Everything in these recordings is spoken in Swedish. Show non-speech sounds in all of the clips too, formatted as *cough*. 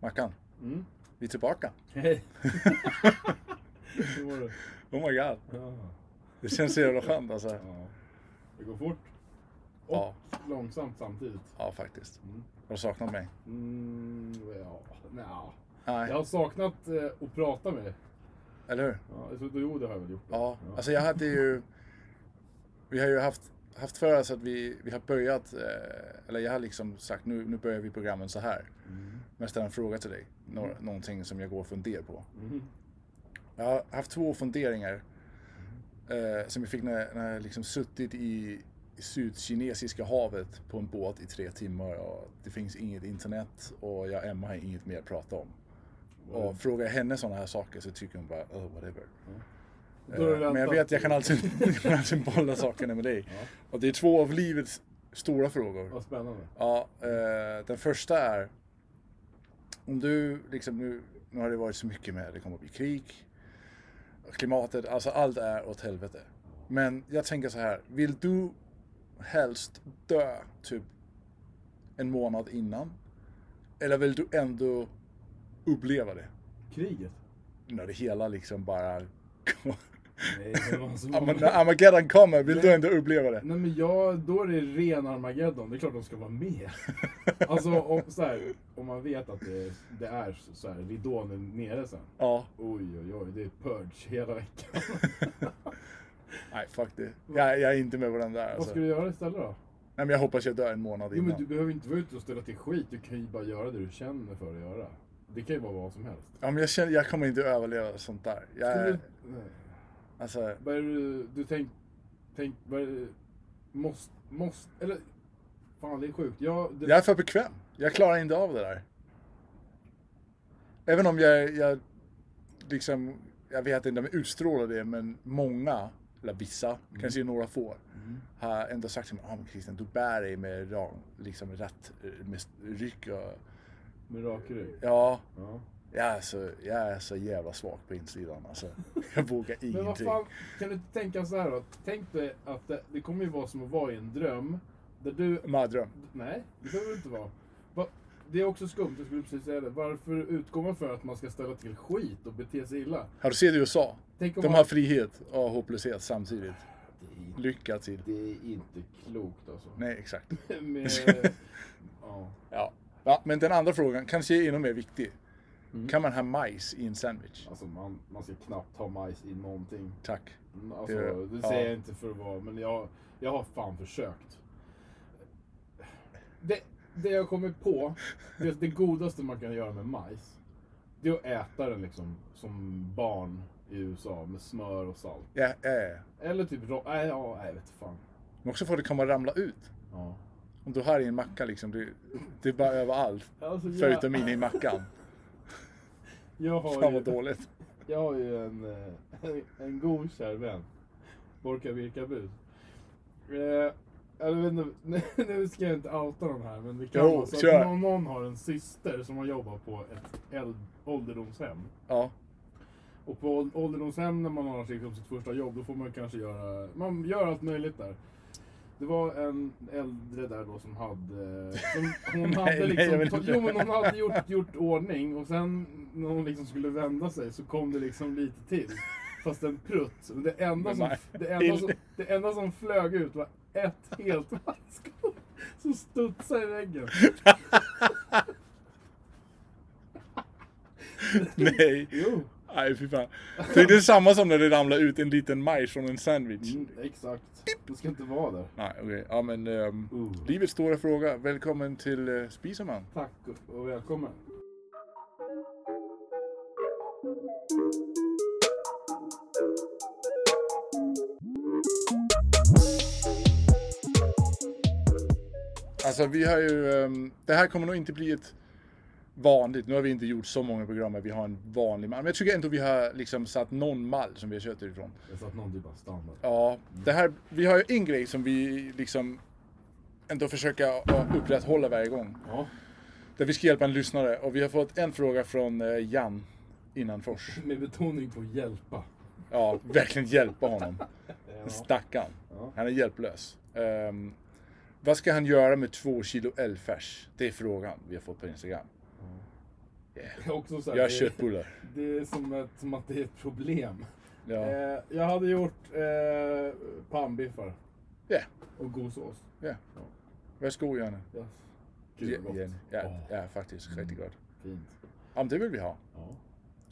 Mackan, *laughs* Mm. vi är tillbaka. Hej. Hur mår du? Oh my god. Ja. Det känns så jävla skönt alltså. Ja. Det går fort. Och Ja. långsamt samtidigt. Ja, faktiskt. Mm. Har du saknat mig? Mm, ja, nja. Jag Nej, har saknat eh, att prata med dig. eller hur? Ja, så, jo, det har jag väl gjort. Ja, alltså jag hade ju... Vi har ju haft, haft för oss att vi, vi har börjat... Eh, eller jag har liksom sagt nu, nu börjar vi programmen så här. Mm. Men jag ställer en fråga till dig. Nå- någonting som jag går och funderar på. Mm. Jag har haft två funderingar. Eh, som jag fick när, när jag liksom suttit i Sydkinesiska havet på en båt i tre timmar och det finns inget internet och jag och Emma har inget mer att prata om. Och frågar jag henne sådana här saker så tycker hon bara, oh, whatever. Eh, Då har du Men jag väntat. vet, jag kan alltid, *laughs* jag kan alltid bolla sakerna med dig. Ja. Och det är två av livets stora frågor. Vad spännande. Ja, eh, den första är, om du liksom nu, nu har det varit så mycket med, det kommer att bli krig, klimatet, alltså allt är åt helvete. Men jag tänker så här, vill du helst dö typ en månad innan? Eller vill du ändå uppleva det? Kriget? När det hela liksom bara... *laughs* Nej, det var så Amma- När Armageddon kommer, vill du ändå uppleva *laughs* det? Nej men jag, då är det ren Armageddon. Det är klart de ska *laughs* vara med. Alltså om, så här, om man vet att det, det är så här, ridån är nere sen. Ja, Oj, oj, oj, det är purge hela veckan. *laughs* nej fuck det. Jag, jag är inte med på den där Vad alltså. ska du göra istället då? Nej men jag hoppas jag dör en månad Jo, men du innan. behöver inte vara ute och ställa till skit. Du kan ju bara göra det du känner för att göra. Det kan ju vara vad som helst. Ja men jag känner, jag kommer inte överleva sånt där. Jag, Skulle är- du, nej. alltså, Vad är det du, du tänk, tänk, vad är det, måste, måste, eller, fan det är sjukt. Jag, det, jag är för bekväm. Jag klarar inte av det där. Även om jag, jag liksom, jag vet inte om jag utstrålar det men många, eller vissa, Mm. kanske några få, har ändå sagt till mig, ah, men Christian du bär dig med rak- liksom rätt, eh, med ryck och, med rak rygg. ja. Ja. Jag är, så, jag är så jävla svag på insidan *laughs* alltså. Jag vågar Men vad ingenting. fan, kan du inte tänka så här då? Tänk dig att det, det kommer ju vara som att vara i en dröm. Där du, Mardröm. nej, det behöver det inte vara. Va, det är också skumt, jag skulle precis säga det. Varför utgår man för att man ska ställa till skit och bete sig illa? Har du sett USA? Tänk om De man- har frihet och hopplöshet samtidigt. Lycka till. Det är inte klokt alltså. Nej, exakt. *laughs* Med, *laughs* ja. Ja. ja. Men den andra frågan, kanske ännu mer viktig. Mm. Kan man ha majs i en sandwich? Alltså man, man ska knappt ha majs i någonting. Tack. Mm, Alltså, Det- det ja. säger jag inte för att vara, men jag, jag har fan försökt. Det, det jag kommit på, det, det godaste man kan göra med majs, det är att äta den liksom som barn i USA med smör och salt. Ja, ja, ja. Eller typ rå... Nej, ja, nej, vet fan. Men också får det komma ramla ut. Ja. Om du har i en macka liksom, det, det är bara överallt. Alltså, jag, Förutom inne i *laughs* mackan. jag har Fan ju, vad dåligt. Jag har ju en, eh, *laughs* en, en god kär vän. Borka Birkabus. Eh, jag vet inte, *laughs* nu- nu ska jag inte outa någon här men det kan Jo, vara så kör. att någon, någon har en syster som har jobbat på ett äld, ålderdomshem. Ja. *laughs* Och på åld- ålderdomshem när man har liksom sitt första jobb då får man kanske göra, man gör allt möjligt där. Det var en äldre där då som hade, som, *laughs* hon Nej, hade nej, liksom, jag vill ta- inte. jo men hon hade gjort, gjort ordning och sen när hon liksom skulle vända sig så kom det liksom lite till. Fast en prutt. Och Det enda, Men som, nej. det, enda som, det enda som flög ut var ett helt maskot som studsade i väggen. Nej. Jo, Nej, fy fan. Tänk, Det är samma som när det ramlar ut en liten majs från en sandwich. mm, exakt. Det ska inte vara där. Nej, okej. Ja, men ehm, Uh. livets stora fråga. Välkommen till uh, Spiseman. Tack och- och välkommen. Alltså, vi har ju... ehm, det här kommer nog inte bli ett vanligt. Nu har vi inte gjort så många program att vi har en vanlig mall. Men jag tycker ändå vi har liksom satt någon mall som vi har kört ifrån. Jag sa att någon typ av standard. Ja, Mm. det här, vi har ju en grej som vi liksom ändå försöker eh, upprätthålla varje gång. Ja, Där vi ska hjälpa en lyssnare. Och vi har fått en fråga från eh, Jan Innanfors. med betoning på hjälpa. Ja, verkligen hjälpa honom. *laughs* Stackarn. Ja. Han är hjälplös. Ehm, vad ska han göra med två kilo älgfärs? Det är frågan vi har fått på Instagram. Också så här, Gör det- köttbullar. Det är som, ett, som att det är ett problem. Ja. Eh, jag hade gjort eh, pannbiffar Ja. och god sås. Ja. Varsågod Janne. Yes. Ja, Gud vad gott. Jenny. ja, Åh, ja, faktiskt. Riktigt gott. fint. Ja, men det vill vi ha. Ja. Va-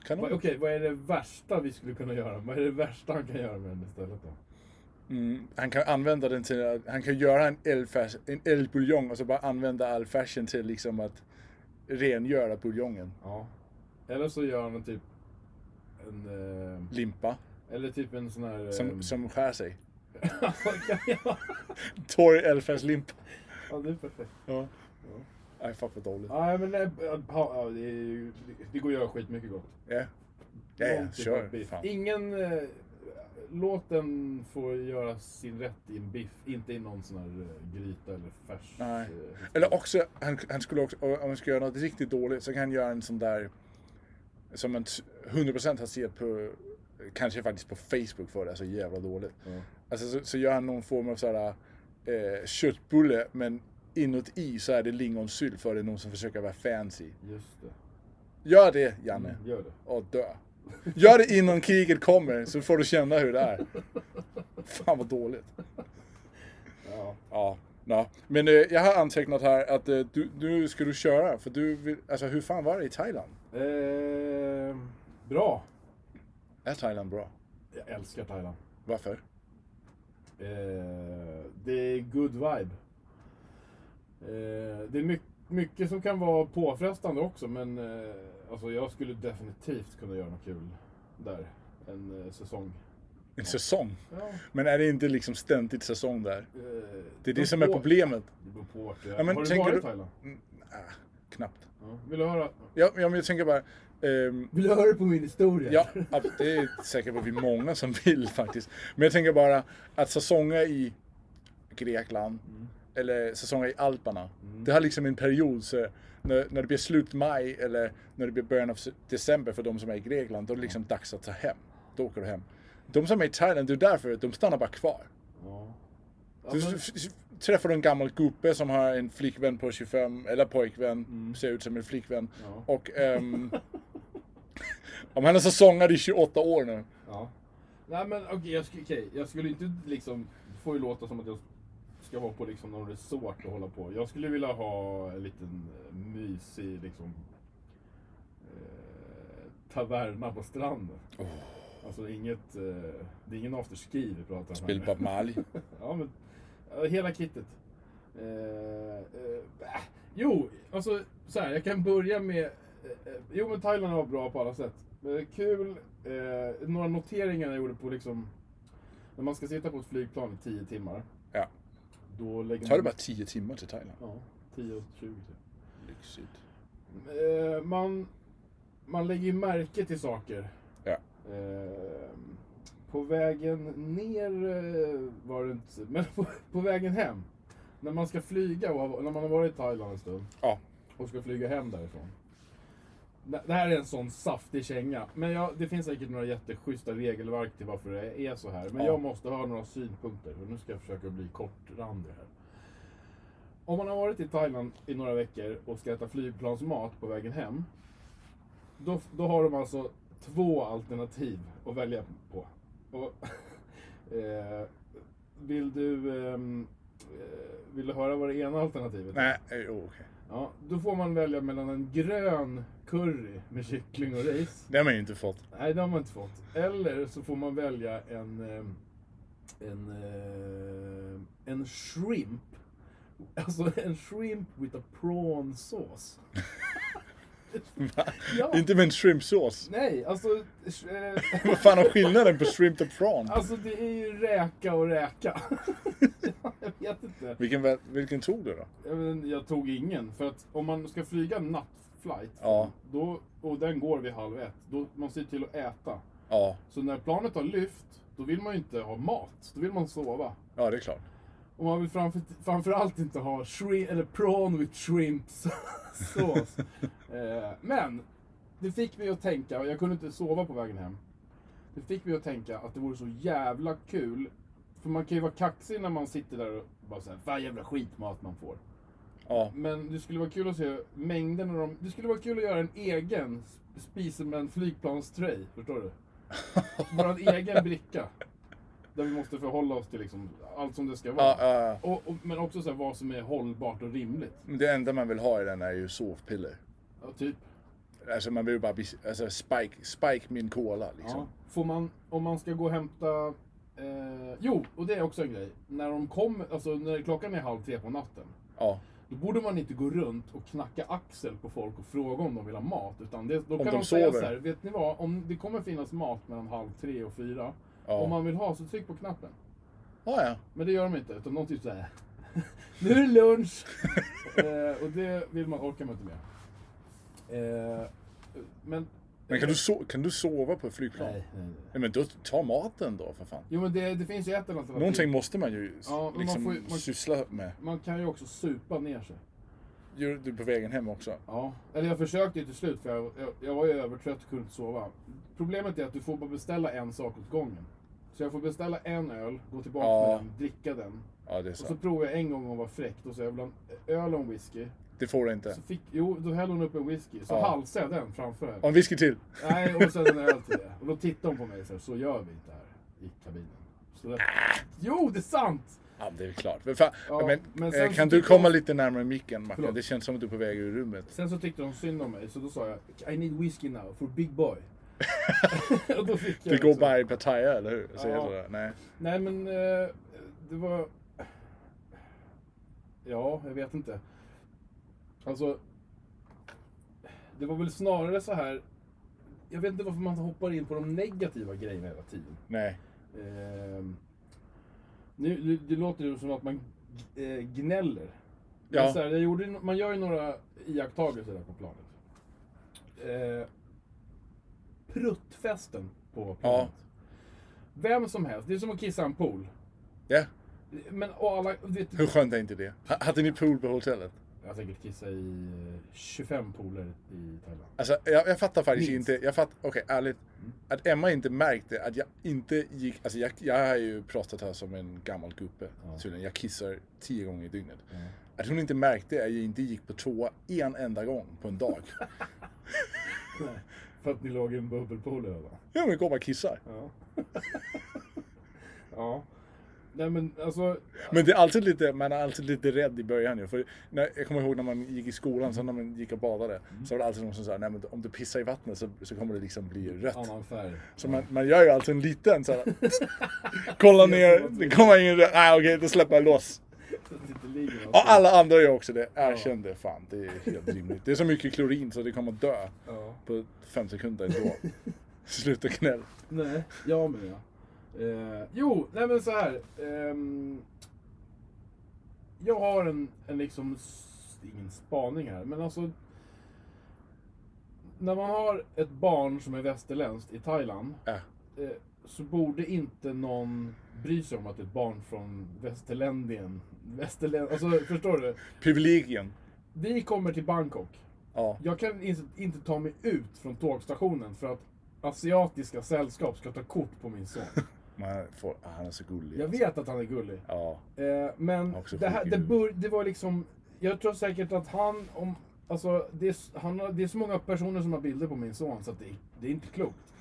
Kanon. Okej, vad är det värsta vi skulle kunna göra? Vad är det värsta han kan göra med den istället då? Mm, han kan använda den till, att- han kan göra en eldfärs- en eldbuljong och så bara använda all fashion till liksom att rengöra buljongen. Ja. Eller så gör han en typ en... Eh, Limpa, eller typ en sån här... Eh, som, som skär sig. *laughs* ja, Torr eldfärslimpa. ja, det är perfekt. Ja. Nej, fan vad dåligt. Nej, men nej, ja, ja, det, är ju, det- det går att göra skitmycket gott. Ja. Ja, ja, Någon typ kör, av biff. fan. Ingen... Eh, låt den få göra sin rätt i en biff, inte i någon sån här eh, gryta eller färs. Nej. eh, Eller också, han, han skulle också, om han ska göra något riktigt dåligt så kan han göra en sån där som man t- 100% har sett på, kanske faktiskt på Facebook för det, är så jävla dåligt. Ja. Alltså så, så gör han någon form av sådär eh, köttbulle men inuti så är det lingonsylt för det är någon som försöker vara fancy. Just det. Gör det Janne Mm, gör det. och dö. Gör det innan kriget kommer så får du känna hur det är. Fan vad dåligt. Ja. Ja, nå. men eh, jag har antecknat här att eh, du, nu ska du köra för du vill, alltså hur fan var det i Thailand? Eh, bra. Är Thailand bra? Jag älskar Thailand. Varför? Eh, det är good vibe. Eh, det är mycket, mycket som kan vara påfrestande också, men eh, alltså jag skulle definitivt kunna göra något kul där en eh, säsong. Eh, En säsong? Ja, Men är det inte liksom ständigt säsong där? eh, Det är det beror som är på- problemet. Det beror på vart du är. Ja, men Har du tänker varit i du- Thailand? Mm, ah, knappt. Ja. Vill du höra? Ja, ja men jag tänker bara... ehm, Vill du höra på min historia? ja, ab- det är säkert vad vi många som vill faktiskt. Men jag tänker bara att säsonger i Grekland Mm. eller säsonger i Alperna. Det har liksom en period så när, när det blir slut maj eller när det blir början av se- december för de som är i Grekland, då är det liksom dags att ta hem. Då åker du hem. De som är i Thailand, det är därför de stannar bara kvar. Ja. Ja, Du men- f- f- träffar du en gammal gubbe som har en flickvän på 25, eller pojkvän, ser ut som en flickvän. Mm. Ja. Och ehm, *laughs* *laughs* om han är säsongad i 28 år nu. Ja. Nej men okej, jag, sk- okej, jag skulle inte liksom... Det får ju låta som att jag ska vara på liksom någon resort och hålla på. Jag skulle vilja ha en liten eh, mysig liksom... Eh, taverna på stranden. Alltså inget... Eh, det är ingen afterski vi pratar om här Bill nu. Bob Marley. Ja, men ja, hela kittet. Eh, eh, bäh. jo, alltså så här, jag kan börja med... Eh, eh, jo, men Thailand var bra på alla sätt. Eh, kul. Eh, några noteringar jag gjorde på liksom... När man ska sitta på ett flygplan i 10 timmar. Ja. Då lägger Tar det man... bara 10 timmar till Thailand? Ja, 10 och 20 typ. Lyxigt. Eh, man, man lägger ju märke till saker. Ja. Eh, på vägen ner eh, var det inte, *laughs* men på, på vägen hem. När man ska flyga, och har- när man har varit i Thailand en stund Ja. och ska flyga hem därifrån. Det det här är en sån saftig känga. Men jag, det finns säkert några jätteschyssta regelverk till varför det är så här. Men Ja. jag måste ha några synpunkter och nu ska jag försöka bli kortrandig här. Om man har varit i Thailand i några veckor och ska äta flygplansmat på vägen hem. Då, då har de alltså två alternativ att välja på. Och, *laughs* eh, vill du ehm, eh, vill du höra vad det ena alternativet är? Nej, eh, oh, okej. Ja, då får man välja mellan en grön curry med kyckling och ris. Det har man ju inte fått. Nej, det har man inte fått. Eller så får man välja en... eh, En... eh, En shrimp. Alltså en shrimp with a prawn sauce. *laughs* Va? Ja. Inte med en *laughs* shrimpsås. Nej, alltså... eh, *laughs* Vad fan är skillnaden på shrimp och prawn? Alltså det är ju räka och räka. *laughs* Jag vet inte. Vilken, vä- vilken tog du då? Jag, men, jag tog ingen, för att om man ska flyga en nattflight Ja. då, och den går vid halv ett, då man ser till att äta. Ja, Så när planet har lyft, då vill man ju inte ha mat, då vill man sova. ja det är klart. Och man vill framför, framförallt inte ha shri, eller prawn with shrimps *laughs* sås. eh, men, det fick mig att tänka, och jag kunde inte sova på vägen hem. Det fick mig att tänka att det vore så jävla kul. För man kan ju vara kaxig när man sitter där och bara såhär, vad jävla skitmat man får. Ja. Men det skulle vara kul att se mängden av dem. Det skulle vara kul att göra en egen Spiderman flygplanstray. *laughs* Förstår du? Vår egen bricka. Där vi måste förhålla oss till liksom allt som det ska vara. Ja, ja, ja. Och, och, men också så här, vad som är hållbart och rimligt. øh, Men Det enda man vill ha i den är ju sovpiller. Ja, typ. Alltså man vill ju bara bli, alltså spike, spike min cola liksom. Ja. Får man, om man ska gå och hämta... Eh, jo, och det är också en grej. När de kommer, alltså när klockan är halv tre på natten. Ja. Då borde man inte gå runt och knacka axel på folk och fråga om de vill ha mat. Utan det, då Om kan de, de säga sover. så här, vet ni vad? Om det kommer finnas mat mellan halv tre och fyra. Ja. Om man vill ha så tryck på knappen. Ja, ja. Men det gör de inte, utan de typ såhär. *laughs* Nu är det *laughs* lunch! eh, och det vill man, orkar man inte med. Eh, men... Men kan du, so- kan du sova på ett flygplan? Nej, nej, nej. Nej, men då ta maten då för fan. Jo men det, det finns ju ett alternativ. Någonting måste man ju Ja, men man liksom får ju- man- syssla med. typ- Man kan ju också supa ner sig. Gör du på vägen hem också? Ja. Eller jag försökte ju till slut för jag, jag, jag var ju övertrött och kunde inte sova. Problemet är att du får bara beställa en sak åt gången. Så jag får beställa en öl, gå tillbaka Ja. med den, dricka den. Ja, det är Och så sant. provar jag en gång att vara fräckt och så jag bland öl och en whisky. Det får du inte. Så fick, jo, då hällde hon upp en whisky. Så Ja. halsade jag den framför henne. Ja, En whisky till. Nej, och sen en öl till det. Och då tittade hon på mig så här, så gör vi inte här i kabinen. Så där, jo, det är sant! *laughs* Ja, det är klart. Men, fan, Ja, men, men sen eh, så kan du tycker jag- komma lite närmare micken, Mackan? Förlåt. Det känns som att du är på väg ur rummet. *laughs* *laughs* Sen så tyckte hon synd om mig, så då sa jag I need whiskey now for big boy. *laughs* och då fick jag Det går liksom- bara i Pattaya, eller hur? Säger Ja. du det? Nej. Nej men, eh, det var... Ja, jag vet inte. Alltså, det var väl snarare så här... Jag vet inte varför man hoppar in på de negativa grejerna hela tiden. Nej. Ehm, nu, nu, det låter ju som att man g- eh, gnäller. Men Ja. Så här, jag gjorde, ju no- man gör ju några iakttagelser där på planet. Eh, pruttfesten på planet. Vem som helst, det är som att kissa i en pool. Ja. Men och alla, vet, Hur skönt är inte det? H- Hade ni pool på hotellet? jag har säkert kissat i eh, 25 pooler i Thailand. Alltså, jag, jag fattar faktiskt Minst. inte. Jag fattar, okej, ärligt. Att Emma inte märkte att jag inte gick... Alltså jag, jag har ju pratat här som en gammal gubbe. Ja. Tydligen. Jag kissar tio gånger i dygnet. Ja. Att hon inte märkte att jag inte gick på toa en enda gång på en *laughs* dag. För att ni låg i en bubbelpool över. ja, men gå och bara kissar. Ja. *laughs* ja. Nej men alltså, Typ. Men det är alltid lite, man är alltid lite rädd i början ju. För när, jag kommer ihåg när man gick i skolan, så när man gick och badade. Så var det alltid någon som sa, nej men om du pissar i vattnet så, så kommer det liksom bli rött. annan färg. Så man, man gör ju alltid en liten *laughs* så här, kolla ner, det kommer ingen rött, nej okej då släpper jag loss. Så att det inte ligger alltså. något. Och alla andra gör också det, erkänn det, fan det är helt rimligt. Det är så mycket klorin så det kommer att dö Ja. på fem sekunder *laughs* ändå. Sluta gnäll. Nej, jag med. Ja. Eh, jo, nej men så här. ehm, jag har en, en liksom, s- ingen spaning här, men alltså. När man har ett barn som är västerländskt i Thailand Ja. eh, så borde inte någon bry sig om att det är ett barn från Västerländien. Västerlän... Alltså, förstår du? Privilegien. Vi kommer till Bangkok. Ja. Jag kan inte, inte ta mig ut från tågstationen för att asiatiska sällskap ska ta kort på min son. Man får, ah, han är så gullig. Jag vet att han är gullig. Ja. Eh, men Också det, här, sjuk det, huvud. bör, det var liksom... Jag tror säkert att han... Om, alltså, det, är, s- han har, det är så många personer som har bilder på min son så att det, är- det är inte klokt.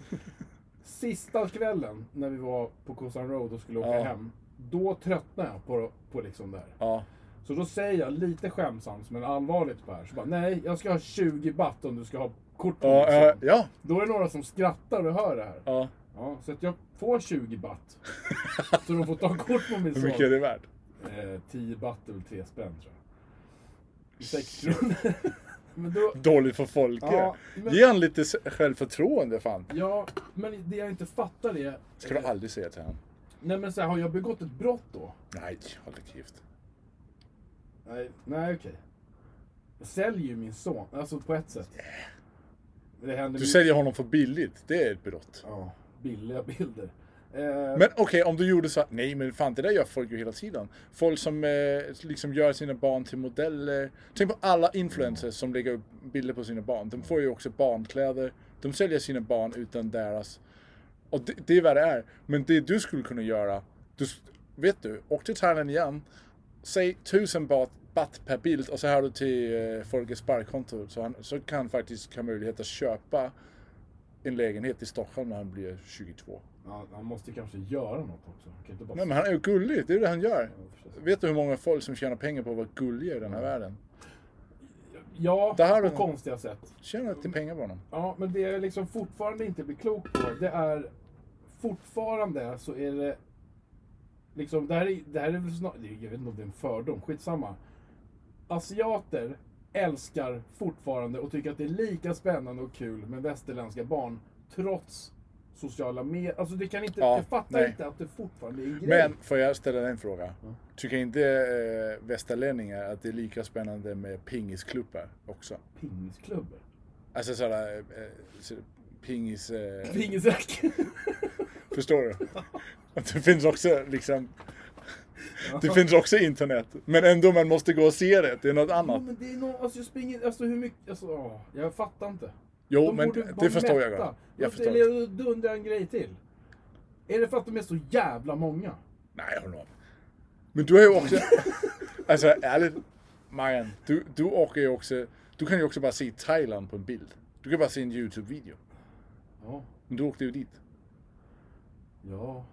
Sista kvällen när vi var på Koh San Road och skulle åka Ja. hem. Då tröttnade jag på, på liksom det här. Ja. Så då säger jag lite skämtsamt men allvarligt på det här. Så bara, nej, jag ska ha 20 baht om du ska ha kort på Ja, min ja, son. ja. Då är det några som skrattar och hör det här. ja. Ja, så att jag får *laughs* 20 baht. så de får ta kort på min Hur son. mycket är det värt? Eh, 10 baht är väl 3 spänn tror jag. 6 kronor. *laughs* men då, Dåligt för folket. Ja, men- Ge han lite s- självförtroende fan. ja, men det jag inte fattar är... Ska du aldrig säga till honom. Nej men så här, har jag begått ett brott då? Nej, håll dig gift. Nej, nej okej. Jag säljer ju min son, alltså på ett sätt. Det händer Du mycket- säljer honom för billigt, det är ett brott. Ja, billiga bilder. Eh, Men okej, om du gjorde så här- Nej, men fan det där gör folk ju hela tiden. Folk som eh, liksom gör sina barn till modeller. Tänk på alla influencers som lägger upp bilder på sina barn. De får ju också barnkläder. De säljer sina barn utan deras... Och det, det är vad det är. Men det du skulle kunna göra... Du, s- vet du, åk till Thailand igen. Säg tusen baht, rabatt per bild och så har du till eh, folkets sparkonto så, han, så kan faktiskt ha möjlighet att köpa en lägenhet i Stockholm när han blir 22. Ja, han måste kanske göra något också. Han kan inte bara... Nej men han är ju gullig, det är ju det han gör. Ja, förstås. Vet du hur många folk som tjänar pengar på att vara gulliga i den Mm. här världen? Ja, Det här på är- konstiga sätt. Tjänar inte pengar på honom. Ja, men det jag liksom fortfarande inte blir klok på, det är fortfarande så är det liksom, det här är, det här är väl snart, jag vet inte om det är en fördom, skitsamma. Asiater älskar fortfarande och tycker att det är lika spännande och kul med västerländska barn, trots sociala medier. Alltså det kan inte, Ja, jag fattar nej. inte att det fortfarande är en grej. Men får jag ställa dig en fråga? Ja. Tycker inte eh, västerlänningar att det är lika spännande med pingisklubbar också? Pingisklubbor? Alltså sådär, eh, så- pingis... Eh, *laughs* Pingisrack? förstår du? Att det finns också liksom... Det finns också internet. Men ändå, man måste gå och se det. Det är något Ja, annat. men det är någon, alltså jag springer, alltså hur mycket, alltså åh, jag fattar inte. Jo, De men borde det vara förstår jag mätta. gott. Men Jag förstår. det- eller Då undrar jag en grej till. Är det för att de är så jävla många? Nej, jag håller med. Men du är ju också... alltså, ärligt. Marian, du, du åker ju också... Du kan ju också bara se Thailand på en bild. Du kan bara se en YouTube-video. Ja, Men du åkte ju dit. ja,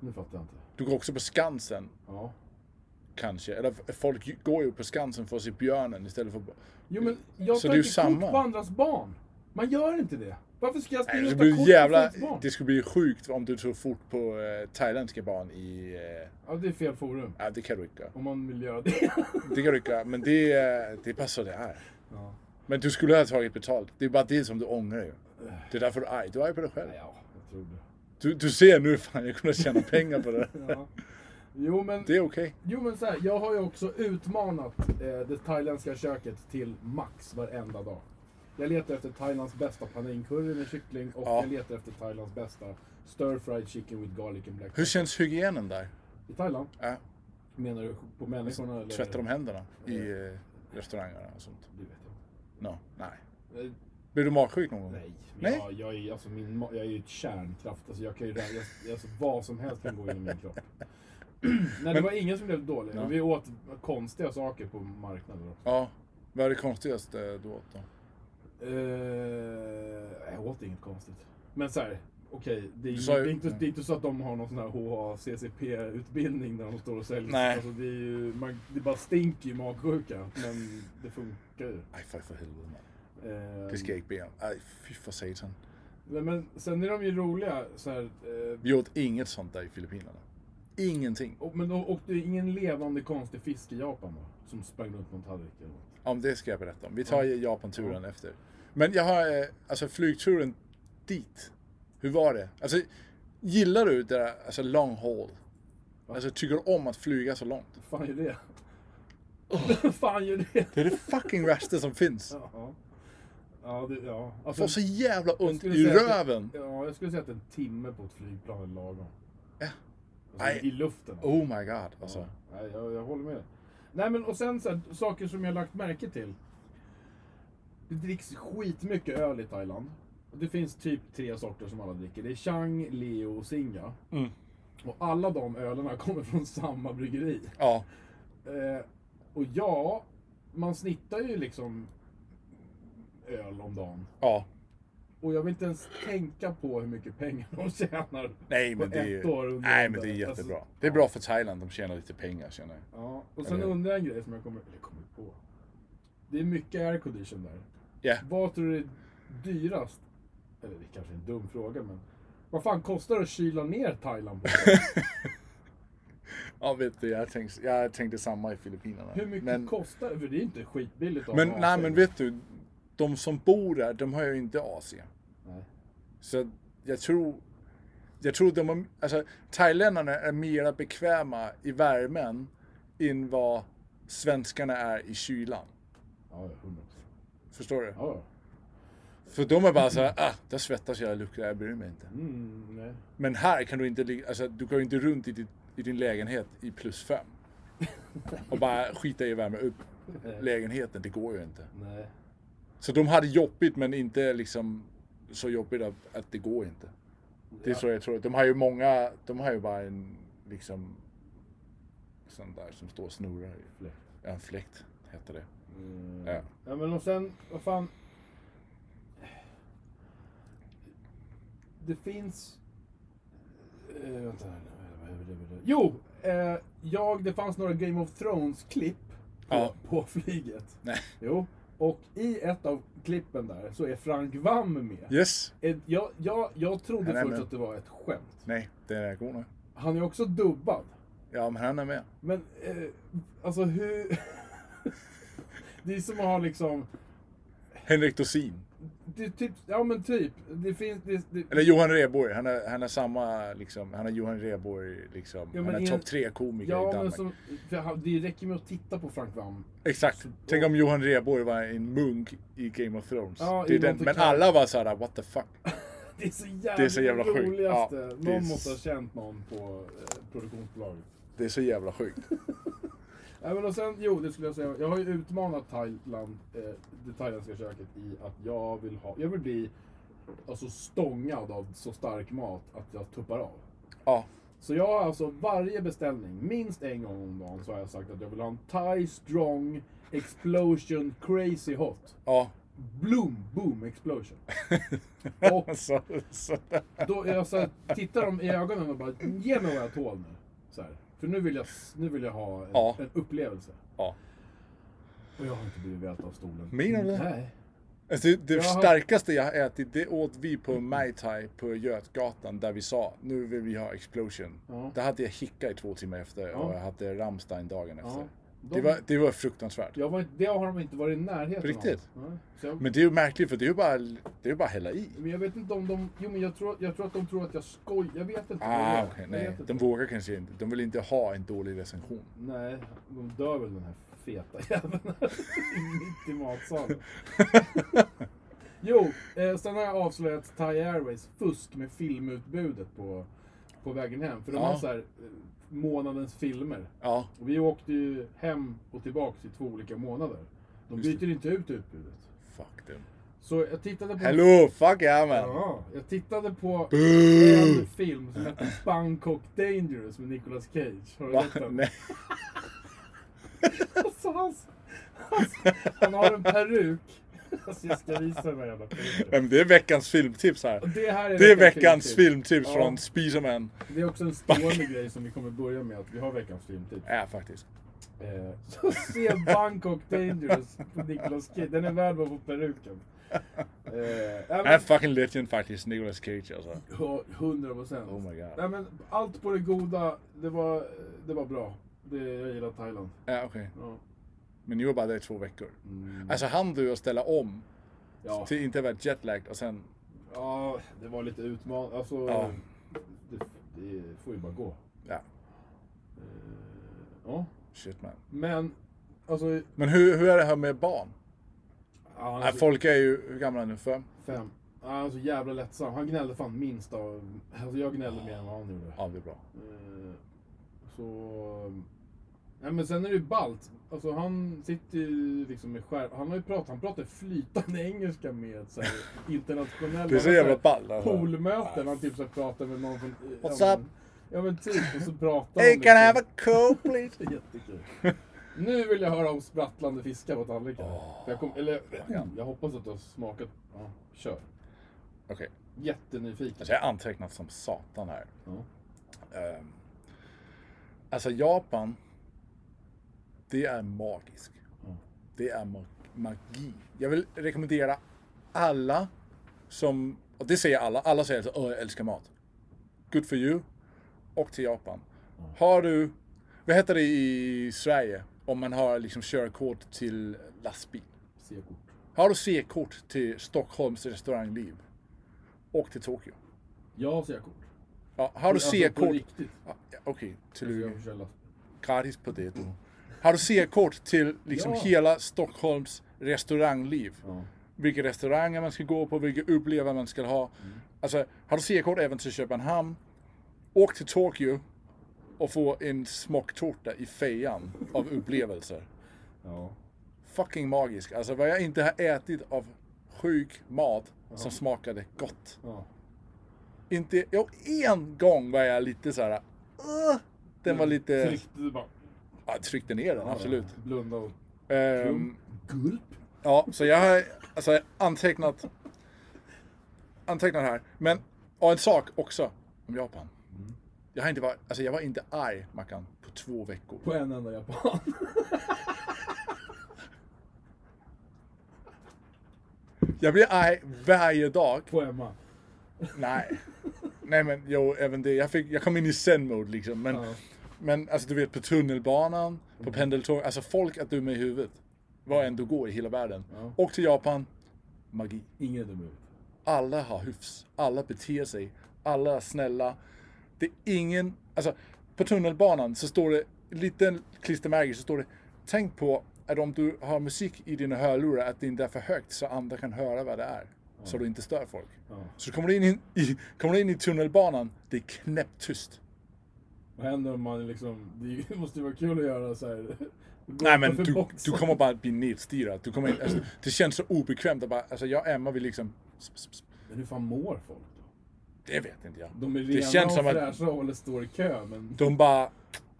nu fattar jag inte. Du går också på Skansen, Ja. kanske. Eller f- folk ju- går ju på Skansen för att se björnen istället för... Jo men jag Så tar det är ju inte samma. kort på andras barn. Man gör inte det. Varför ska Nej, jag springa det, och skulle ta bli kort på jävla, folks barn? det skulle bli sjukt om du tog fort på eh, thailändska barn i... Eh, Ja, det är fel forum. ja, det kan du inte göra. Om man vill göra det. *laughs* Det kan du inte göra, men det, eh, det är bara så det är. Ja, Men du skulle ha tagit betalt. Det är bara det som du ångrar ju. Det är därför du är arg. Du är arg på dig själv. ja jag tror det. Du, du ser nu, fan jag kunde tjäna pengar på det. Ja. Jo men, Det är okej. jo, men så här, jag har ju också utmanat eh, det thailändska köket till max varenda dag. Jag letar efter Thailands bästa panincurry med kyckling och Ja. jag letar efter Thailands bästa stir fried chicken with garlic and black Hur känns hygienen där? I Thailand? Ja, Menar du på människorna eller? tvättar de händerna i eh, restaurangerna och sånt? Det vet jag No, nej. inte. Eh, Blir du magsjuk någon gång? Nej, Nej. nej. Jag, jag, är, alltså, min, ma- jag är ju ett kärnkraft. Alltså, jag kan ju, jag, jag, alltså, vad som helst kan gå in i min kropp. *clears throat* nej, det var ingen som blev dålig. Ja. Vi åt konstiga saker på marknaden också. Ja. Vad är det konstigaste du åt då? Eh, jag åt inget konstigt. Men så här, okej. det, är Du ju- sa ju- det, är inte- det är inte så att de har någon sån här HACCP-utbildning där de står och säljer. Nej. Alltså, det, är ju, man, det bara stinker ju magsjuka. Men det funkar ju. Aj, för för helvete man. Eh, Det ska jag inte be om. Aj, fy för satan. nej, men sen är de ju roliga. Så här, eh, Vi åt inget sånt där i Filippinerna. Ingenting. och, men, och, och det är ingen levande konstig fisk i Japan då? Som sprang runt på en tallrik eller något. Om det ska jag berätta om. Vi tar Japan-turen efter. Men jag har, eh, alltså flygturen dit. Hur var det? Alltså, gillar du det där, alltså long haul? Alltså, tycker du om att flyga så långt? Fan gör det? *laughs* Fan gör det? Det är det fucking värsta som finns. Ja. Ja, det, ja. Jag Alltså, får så jävla Jag ont skulle i säga att- röven. Ja, jag skulle säga att en timme på ett flygplan är lagom. Ja. Alltså, Nej. I luften. Oh my god, alltså. Ja, nej, jag, jag håller med dig. Nej, men och sen så här, saker som jag lagt märke till. Det dricks skitmycket öl i Thailand. Och Det finns typ tre sorter som alla dricker. Det är Chang, Leo och Singa. Mm. Och alla de ölerna *laughs* kommer från samma bryggeri. Ja. Eh, och ja, man snittar ju liksom öl om dagen. Ja. Och jag vill inte ens tänka på hur mycket pengar *laughs* de tjänar Nej men på det är ett år. ju... under- Nej men det är alltså, jättebra. Det är bra för Thailand, de tjänar lite pengar känner jag. Ja, och sen Eller- undrar jag en grej som jag kommer, eller kommer på. Det är mycket aircondition där. Ja. Vad tror du är dyrast? Eller det kanske är en dum fråga, men vad fan kostar det att kyla ner Thailand på? *laughs* Ja vet du, jag tänkte, jag tänkte samma i Filippinerna. Hur mycket Men- kostar det? För det är ju inte skitbilligt att Men ha nej AC. men vet du, de som bor där, de har ju inte AC. Nej. Så jag tror, jag tror de har, alltså thailändarna är mera bekväma i värmen än vad svenskarna är i kylan. Ja, ja, 100 procent. Förstår du? Ja, ja. För de är bara så här, ah, där svettas jag, jag luktar, jag bryr mig inte. Mm, nej. Men här kan du inte, ligga- alltså du går ju inte runt i, ditt, i din lägenhet i plus fem. Och bara skita i att värma upp lägenheten, det går ju inte. nej. Så de hade jobbigt men inte liksom så jobbigt att, att det går inte. Det är så jag tror. De har ju många, de har ju bara en liksom sån där som står och snurrar. i- Fläkt. Ja, en fläkt. hette det. Mm. Ja. Ja men och sen, vad fan. Det finns... Eh, vänta här nu. Jo! Eh, jag, det fanns några Game of Thrones-klipp på, Ja. på flyget. Nej. Jo. Och i ett av klippen där så är Frank Vam med. Yes. Ett- Jag, jag, jag trodde Han är först med. att det var ett skämt. Nej, det är god nu. Han är också dubbad. Ja, men han är med. Men, eh, alltså hur... *laughs* det är som att ha liksom... Henrik Dorsin. Det är typ, ja men typ. Det finns, det, det, Eller Johan Rheborg. Han är, han är samma, liksom. Han är Johan Rheborg, liksom. Ja, men han är i- topp tre komiker i ja, men Danmark. som, för han- det räcker med att titta på Frank Vam. Exakt. Tänk om Johan Rheborg var en munk i Game of Thrones. Ja, det i är den. Monte Men Carlo. alla var såhär, what the fuck. Det är så jävla, Det är så jävla sjukt. roligaste. Ja, det är någon s- måste ha känt någon på eh, produktionsbolaget. Det är så jävla sjukt. Nej, men och sen, jo, det skulle jag säga. Jag har ju utmanat Thailand, eh, det thailändska köket i att jag vill ha, jag vill bli alltså stångad av så stark mat att jag tuppar av. Ja. Så jag har alltså varje beställning, minst en gång om dagen, så har jag sagt att jag vill ha en Thai Strong Explosion Crazy Hot. Ja. Bloom Boom Explosion. *laughs* Och- så, så. Då är jag så här, tittar dem i ögonen och bara, ge mig vad jag tål nu. Så här. För nu vill jag, nu vill jag ha en, Ja. en upplevelse. Ja. Och jag har inte blivit vält av stolen. Min av det? Nej. Alltså, det det Jag har- starkaste jag har ätit, det åt vi på Mai Tai på Götgatan där vi sa nu vill vi ha explosion. Ja. Där hade jag hicka i två timmar efter och Ja. jag hade Rammstein dagen efter. Ja. De, Det, var, det var fruktansvärt. jag var, inte- det har de inte varit i närheten Riktigt? av. Nej. Så jag, men, Men det är ju märkligt för det är ju bara, det är ju bara att hälla i. jag vet inte om de... Jo, men jag tror, jag tror att de tror att jag skojar. Jag vet inte. vad det Ah, är. okej, Jag nej. vet inte. De vågar kanske inte. De vill inte ha en dålig recension. Nej, de dör väl den här feta *laughs* jäveln mitt *laughs* i matsalen. jo, eh, sen har jag avslöjat Thai Airways fusk med filmutbudet på, på vägen hem. För de Ja. har så här, eh, månadens filmer. Ja, Och vi åkte ju hem och tillbaks i två olika månader. De Just det. byter inte ut utbudet. fuck dem. Så jag tittade på... Hello, fuck yeah man. Ja, jag tittade på Boo! en film som heter Bangkok Dangerous med Nicolas Cage. Har du Va? sett den? *laughs* Nej. Alltså, han, han, han har en peruk. *laughs* Alltså, jag ska visa den här jävla peruken. Men det är veckans filmtips här. Det, här är Det är veckans filmtips Ja. från Spiderman. Det är också *laughs* en stående grej som vi kommer börja med, att vi har veckans filmtips. Ja, Äh, faktiskt. Eh, Så se Bangkok Dangerous på Nicolas Cage. Den är värd att få peruken. Eh, nej, men- Han är Äh, fucking legend faktiskt, Nicolas Cage alltså. Ja, 100 procent. Oh my god. Nej, men allt på det goda, det var, det var bra. Det, jag gillar Thailand. Ja, Äh, okej. Ja. Men ni var bara där i två veckor. Mm. Alltså han du att ställa om Ja. till inte vara jetlagged och sen... ja, det var lite utmanande. Alltså, Ja. det, det får ju bara gå. Ja, Eh, Ja, shit man. men alltså... Men hur, hur är det här med barn? ja, Nej, alltså folk är ju, hur gamla är ni? Fem? fem. Ja, Alltså jävla lättsam. Han gnällde fan minst av... Alltså jag gnällde mer än vad han gjorde. Ja, det är bra. Eh, Så... Nej men sen är det ju ballt. Alltså han sitter ju liksom med skärm. Han har ju pratat, han pratar flytande *laughs* engelska med så här, internationella... Det är så jävla ball. Alltså. Poolmöten. Han typ så här pratar med någon från... ja, What's men- up? Ja men typ. Och så pratar Hey, han can I have a liksom. coke please? *laughs* Det är Jättekul. Nu vill jag höra om sprattlande fiskar på tallriken. Åh. För Jag, kom, eller, Ja. jag hoppas att du har smakat. Ja, kör. Okej, Jättenyfiken. alltså jag har antecknat som satan här. Ja. Ehm, alltså Japan, det är magiskt. Mm. Det är ma- magi. Jag vill rekommendera alla som, och det säger alla, alla säger att jag älskar mat. Good for you. Och till Japan. Mm. Har du, vad heter det i Sverige om man har liksom körkort till lastbil? C-kort. Har du C-kort till Stockholms restaurangliv? Och till Tokyo. Jag har C-kort. Ja, har du Alltså, på C-kort? riktigt. Ja, Okej, Alltså, till jag försöker lasta. Grattis på det du. Har du C-kort till liksom Ja. hela Stockholms restaurangliv? Ja. Vilka restauranger man ska gå på, vilka upplevelser man ska ha. Mm. Alltså, har du C-kort även till Köpenhamn? Åk till Tokyo och få en smocktårta i fejan *laughs* av upplevelser. Ja. Fucking magisk. Alltså vad jag inte har ätit av sjuk mat som smakade gott. ja. Inte, jo, en gång var jag lite så här. "Åh!" den var lite, Mm. Tryckte du bara. ja, tryckte ner den absolut. Blunda och... Ehm, Klump. Gulp. Ja, så jag har alltså, antecknat, antecknat här. Men, och en sak också om Japan. Jag, har inte varit, alltså, jag var inte arg, Mackan, på två veckor. På en enda japan. *laughs* Jag blir arg varje dag. på Emma. Nej. Nej men jo, även det. Jag, fick, jag kom in i zen-mode liksom. Men, Ja. Mm. men alltså du vet på tunnelbanan, på pendeltåg. Alltså folk att du med i huvudet. Var än du går i hela världen. Ja. Och till Japan, magi. Ingen är dum i huvudet. Alla har hyfs. Alla beter sig. Alla är snälla. Det är ingen... Alltså, på tunnelbanan så står det, liten klistermärke så står det, tänk på att om du har musik i dina hörlurar, att det inte är för högt så andra kan höra vad det är. Så du inte stör folk. Ja. Så kommer du in i, i, kommer du in i tunnelbanan, det är knäpptyst. Vad händer om man liksom... Det är ju- *laughs* måste ju vara kul att göra så här. *laughs* Nej men För du, boxen. du kommer bara bli nedstyrad. Du kommer in, alltså, det känns så obekvämt att bara, alltså jag och Emma vi liksom, Men hur fan mår folk då? det vet inte jag. De är rena det känns och som att fräscha och håller står i kö, men... *laughs* De bara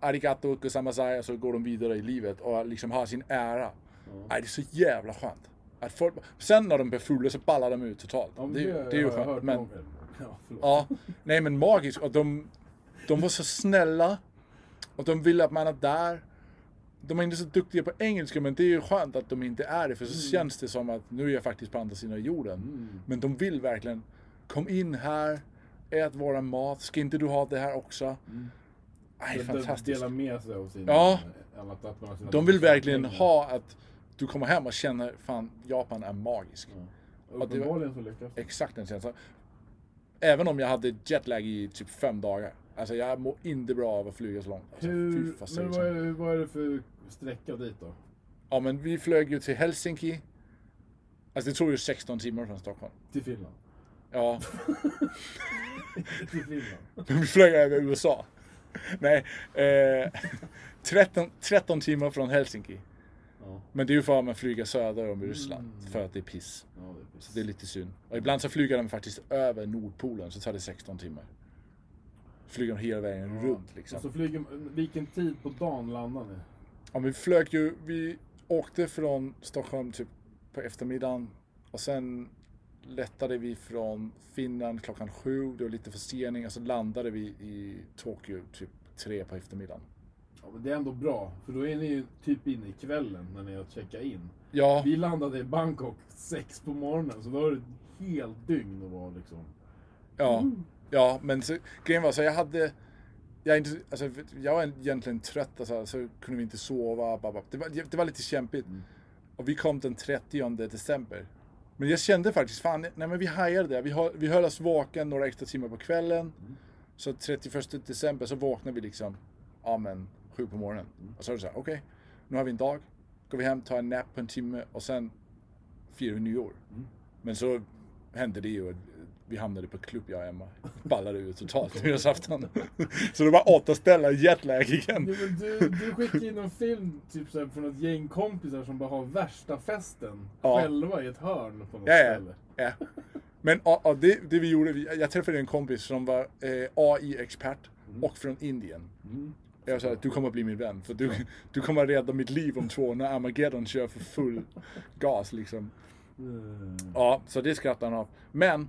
arigato kusamasai och så går de vidare i livet och liksom har sin ära. Nej, det är så jävla skönt. Att folk... Sen när de blir fulla så ballar de ut totalt. Ja, men det, är ju- det är har ju jag skönt. hört Men, om. *laughs* Ja, förlåt. ja, nej men magiskt. Och de, de var så snälla. Och de vill att man är där. De är inte så duktiga på engelska men det är ju skönt att de inte är det för så Mm. känns det som att nu är jag faktiskt på andra sidan jorden. Men de vill verkligen. Kom in här. Ät våra mat. Ska inte du ha det här också? Nej, Mm. De- de fantastiskt. Delar med Mm. sig av sin... Ja. Annat, att man har sina De vill verkligen ha att du kommer hem och känner fan Japan är magisk. Uppenbarligen så lyckas de. Exakt den känslan. Även om jag hade jetlag i typ fem dagar. Alltså jag mår inte bra av att flyga så långt. Alltså, fy Hur, fasen. men vad är, vad är det för sträcka dit då? Ja men vi flög ju till Helsinki. Alltså det tog ju 16 timmar från Stockholm. Till *laughs* Finland? Ja, till Finland? men vi flög över USA. *laughs* Nej, eh, *laughs* 13, 13 timmar från Helsinki. Ja. Men det är ju för att man flyger söder om i Ryssland. Mm. För att det är piss. Ja, det är Det är precis. lite synd. Och ibland så flyger de faktiskt över Nordpolen, så tar det 16 timmar. Flyger de hela vägen runt liksom. Och så flyger, vilken tid på dagen landar ni? Ja, men vi flög ju, vi åkte från Stockholm typ på eftermiddagen och sen lättade vi från Finland klockan sju, det var lite försening och så landade vi i Tokyo typ tre på eftermiddagen. Ja, men det är ändå bra, för då är ni ju typ inne i kvällen när ni har checkat in. Ja, Vi landade i Bangkok sex på morgonen, så då var det ett helt dygn att vara liksom. ja, ja, men så, grejen var så jag hade jag, är inte, alltså, jag var egentligen trött, alltså, så kunde vi inte sova. bara- bara- Det var, det var lite kämpigt. Och vi kom den 30 december. Men jag kände faktiskt, fan, nej men vi hajade det. Vi, hö- vi höll oss vaken några extra timmar på kvällen. Så 31 december så vaknade vi liksom, ja men, sju på morgonen. Och så var det så här, okej, nu har vi en dag. Går vi hem, tar en nap på en timme och sen firar vi nyår. Men så hände det ju att vi hamnade på klubb jag och Emma. Ballade ut totalt *laughs* nyårsafton. så det var återställa jetlag igen. Ja, men du, du skickade in en film typ så här, från ett gäng kompisar som bara har värsta festen Ja. själva i ett hörn på något Ja, ja. ställe. ja. Men ja, ja, det, det vi gjorde, vi- jag träffade en kompis som var eh, AI-expert Mm. och från Indien. Jag sa att du kommer bli min vän, för du, *laughs* du kommer rädda mitt liv om två år när Armageddon kör för full gas liksom. Mm. Ja, så det skrattar han av. Men,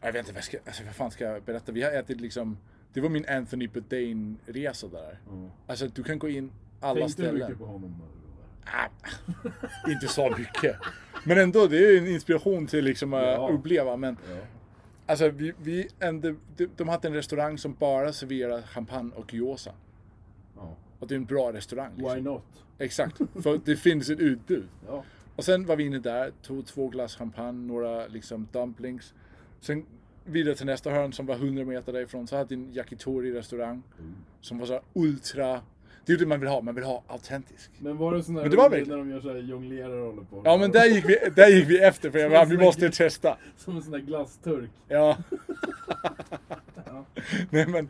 jag vet inte vad, jag ska, alltså, vad fan ska jag berätta? Vi har ätit liksom, det var min Anthony Bourdain-resa där. Ja. Alltså du kan gå in alla Mm. Tänkte du ställen. mycket på honom? när du var där? Ah, inte så mycket. Men ändå, det är ju en inspiration till liksom att Ja. uppleva. Men Ja. alltså, vi, vi ändå, de, de hade en restaurang som bara serverar champagne och gyoza. Ja. Och det är en bra restaurang. Why Liksom. not? Exakt, för det finns ett utbud. Ja. Och sen var vi inne där, tog två glas champagne, några liksom dumplings. Sen vidare till nästa hörn som var 100 meter därifrån så hade vi en yakitori-restaurang. Som var så här ultra... Det är ju det man vill ha, man vill ha autentisk. Men var det sån där Men det var rolig väl- när de gör så här jonglerar och håller på? Ja men där gick vi, där gick vi efter för jag bara, vi måste testa. Som en sån där glassturk. Ja. Ja. Nej men,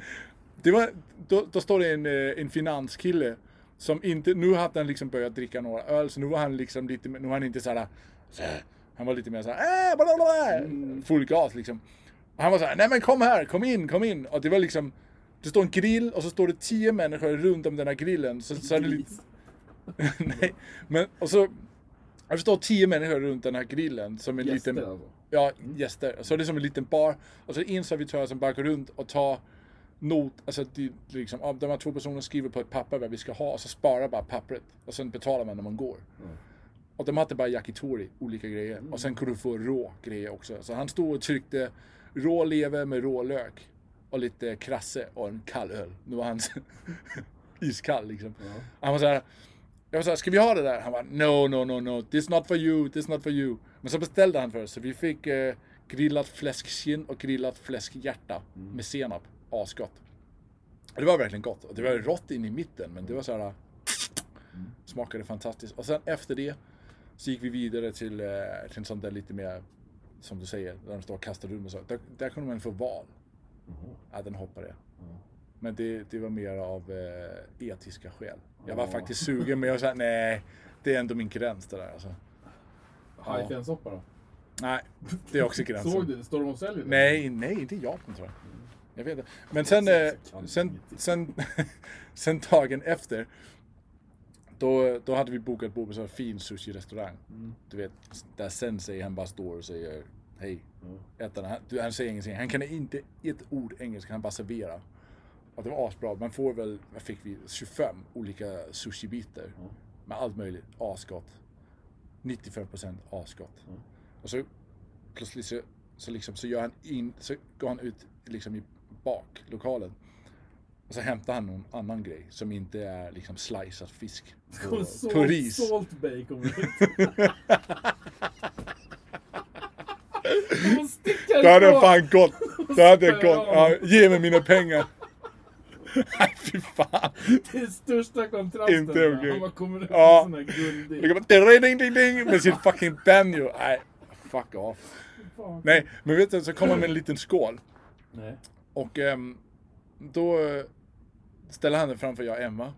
det var, då, då står det en, eh, en finanskille som inte, nu hade han liksom börjat dricka några öl så nu var han liksom lite, nu var han inte såhär, såhär han var lite mer såhär, äh, bla, bla, bla, full gas liksom. Och han var såhär, nej men kom här, kom in, kom in. Och det var liksom, det står en grill och så står det tio människor runt om den här grillen. Så, så är det lite, *laughs* Nej, men och så... Jag förstår tio människor runt den här grillen som en Gäster liten... alltså. Ja, gäster. Så det är som en liten bar. Och så är det en servitör som bara går runt och tar not, alltså det, är liksom, ja, de här två personerna skriver på ett papper vad vi ska ha och så sparar bara pappret. Och sen betalar man när man går. Mm. Och de hade bara yakitori, olika grejer. Och sen kunde du få rå grejer också. Så han stod och tryckte rå lever med rå lök. Och lite krasse och en kall öl. Nu var han *laughs* iskall liksom. Han var så här. Jag var så här, ska vi ha det där? Han var no, no, no, no. This not for you, this not for you. Men så beställde han för oss. Så vi fick eh, grillat fläskkinn och grillat fläskhjärta med senap. Asgott. Och Det var verkligen gott. Och det var rått in i mitten, men det var så här... Smakade fantastiskt. Och sen efter det så gick vi vidare till, eh, till en sån där lite mer, som du säger, där de står och kastar runt och så. Där, där kunde man få val. Ja, den hoppade jag. Men det, det var mer av eh, etiska skäl. Jag var Ja. faktiskt sugen, men jag sa nej, det är ändå min gräns det där alltså. Hajfjällssoppa då? Nej, det är också gränsen. Såg du? Står de och säljer den? Nej, nej, inte i Japan tror jag. Jag vet inte. Men sen, eh, Kan sen, ingenting. sen, *laughs* sen dagen efter, då, då hade vi bokat bord på en sån här fin sushi-restaurang. Mm. Du vet, där sensei han bara står och säger hej. Ettan, han, du, han säger ingenting. Han kan inte ett ord engelska, han bara serverar. Och det var asbra. Man får väl, vad fick vi, 25 olika sushi-bitar. Med allt möjligt. Asgott. 95% asgott. Och så plötsligt så, så, liksom, så, gör han in, så går han ut liksom i baklokalen. Och så hämtar han någon annan grej som inte är liksom slicead fisk. Hon På, sålt- på ris. Sålt *laughs* bacon. Hon stickar Det hade ifrån. fan gått. Det hade gått. Spöa honom. Ja, ge mig mina pengar. *laughs* Nej, fy fan. Det är största kontrasten. Inte där. okej. Han bara kommer ut Ja. med sån här Det guldig... kan bara ding, ding, ding med sin fucking banjo. Nej, fuck off. Fan. Nej, men vet du, så kommer han med en liten skål. Nej. Och ehm, då eh, ställer han den framför jag och Emma.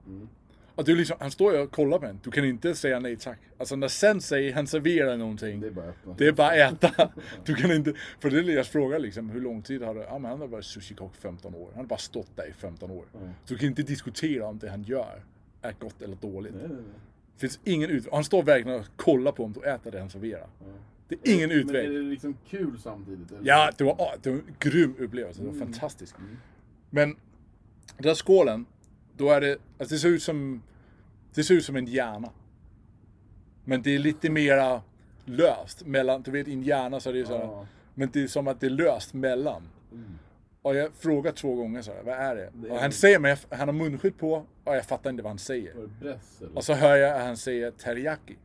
Och du liksom, han står ju och kollar på den. Du kan inte säga nej tack. Alltså när sensei, han serverar någonting. Det är bara att öppna. Det är bara äta. Du kan inte... För det är deras fråga liksom, hur lång tid har du... Ja men han har varit sushikock 15 år. Han har bara stått där i 15 år. Mm. Så du kan inte diskutera om det han gör är gott eller dåligt. Nej, nej, nej. Det finns ingen utväg. Han står verkligen och kollar på om du äter det han serverar. Det är ingen utväg. Men är det liksom kul samtidigt? Eller? Ja, det var, det var en grym upplevelse. Det var fantastiskt. Men den där skålen, då är det... Alltså det ser ut som... Det ser ut som en hjärna. Men det är lite mera löst mellan... Du vet, i en hjärna så är det ju så här, Ja. Men det är som att det är löst mellan. Mm. Och jag frågar två gånger så här, vad är det? Det är- Och han säger mig, han har munskydd på och jag fattar inte vad han säger. Var det bress eller? Och *laughs* så hör jag att han säger teriyaki.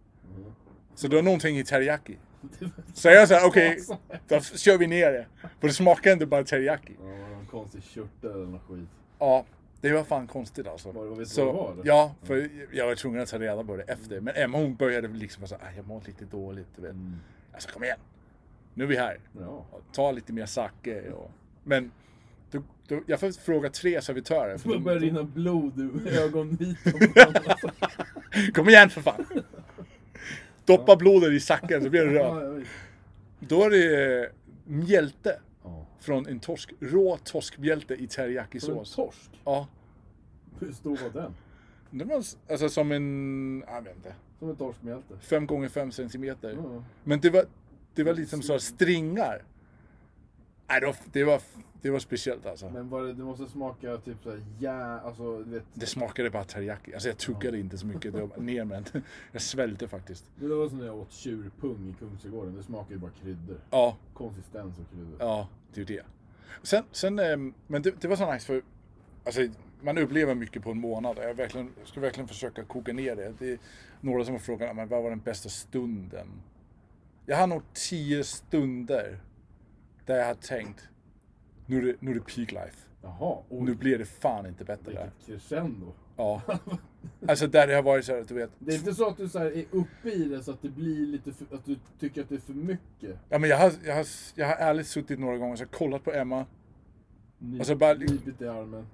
Så det var någonting i teriyaki. Så jag sa okej, då f- kör vi ner det. För det smakar inte bara teriyaki. Ja, var det någon konstig körtel eller något skit? Ja, det var fan konstigt alltså. Var det- vet du så, vad det var, eller? Ja, för jag var tvungen att ta reda på det efter. Men Emma hon började liksom vara så här, "Ah, jag mår lite dåligt. Du vet. Mm. Alltså kom igen, nu är vi här. Ja. Ta lite mer sake. Och... Men då, då, jag får fråga tre servitörer. för Det de- börjar rinna *laughs* blod ur ögonvitan. Kom igen för fan! *laughs* Doppa blodet i sacken så blir det rött. ja, jag vet. Då är det eh, mjälte Ja. från en torsk. Rå torskmjälte i Som en teriyakisås. torsk. Ja. Hur stor var den? Det var s- alltså som en, jag vet inte, Som en torskmjälte. 5 gånger 5 centimeter. Ja. Men det var, det var liksom så här stringar. Nej, det var, det var, det var speciellt alltså. Men var det, det måste smaka typ såhär ja, alltså du vet. Det smakade bara teriyaki. Alltså jag tuggade inte så mycket. Det var bara ner med den. Jag svälte faktiskt. Det var som när jag åt tjurpung i Kungsträdgården. Det smakar ju bara kryddor. Ja, Konsistens och kryddor. Ja, det är ju det. Sen, sen ehm, men det, det var så nice för alltså, man upplever mycket på en månad. Jag verkligen, ska verkligen försöka koka ner det. Det är några som har frågat "Ah, men vad var den bästa stunden. Jag har nog tio stunder där jag har tänkt nu är det, nu är det peak life. Jaha, oj. Nu blir det fan inte bättre där. Vilket crescendo. Ja. Alltså där det har varit så här, du vet. Det är inte så att du så här är uppe i det så att det blir lite för, att du tycker att det är för mycket. Ja, men jag, har, jag, har, jag har ärligt suttit några gånger och så kollat på Emma. Nyp, Alltså bara- Nypigt i armen.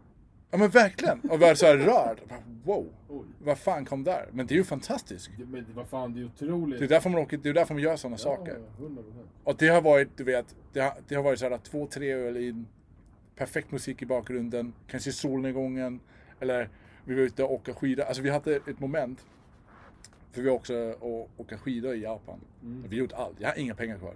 Ja men verkligen! Och varit så här rörd. Bara, Wow! Oj. vad fan kom där? Men det är ju fantastiskt. Det- Men vad fan, det är otroligt. Det är därför man, åker, det är därför man gör sådana saker. Ja, 100%. Och det har varit, du vet, det har, det har varit sådär två, tre öl in, perfekt musik i bakgrunden, kanske solnedgången, eller vi var ute och åkte skidor. Alltså vi hade ett moment För vi har också att åka skidor i Japan. Mm. Vi har gjort allt. Jag har inga pengar kvar.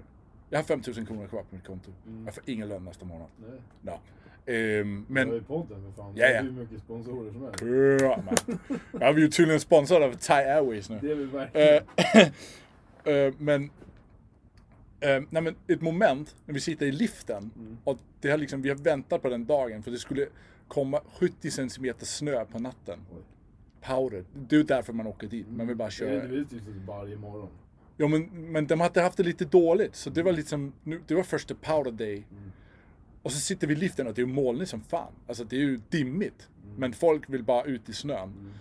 Jag har 5000 kronor kvar på mitt konto. Mm. Jag får ingen lön nästa månad. Nej. Ja. Ehm, men... Det är ju podden för fan. Ja, ja. Det är hur mycket sponsorer som helst. Bra, *laughs* man. Ja, vi är ju tydligen sponsrade av Thai Airways nu. Det är vi verkligen. Eh, *laughs* eh, men, eh, nej, men ett moment när vi sitter i liften Mm. och det har liksom, vi har väntat på den dagen för det skulle komma 70 centimeter snö på natten. Oj. Mm. Powder. Det är ju därför man åker dit. Man vill bara Det är köra. inte vi typ sitter varje morgon. Ja, men, men de hade haft det lite dåligt så det var liksom, nu, det var första powder day. Och så sitter vi i liften och det är ju molnigt som fan. Alltså det är ju dimmigt. Men folk vill bara ut i snön.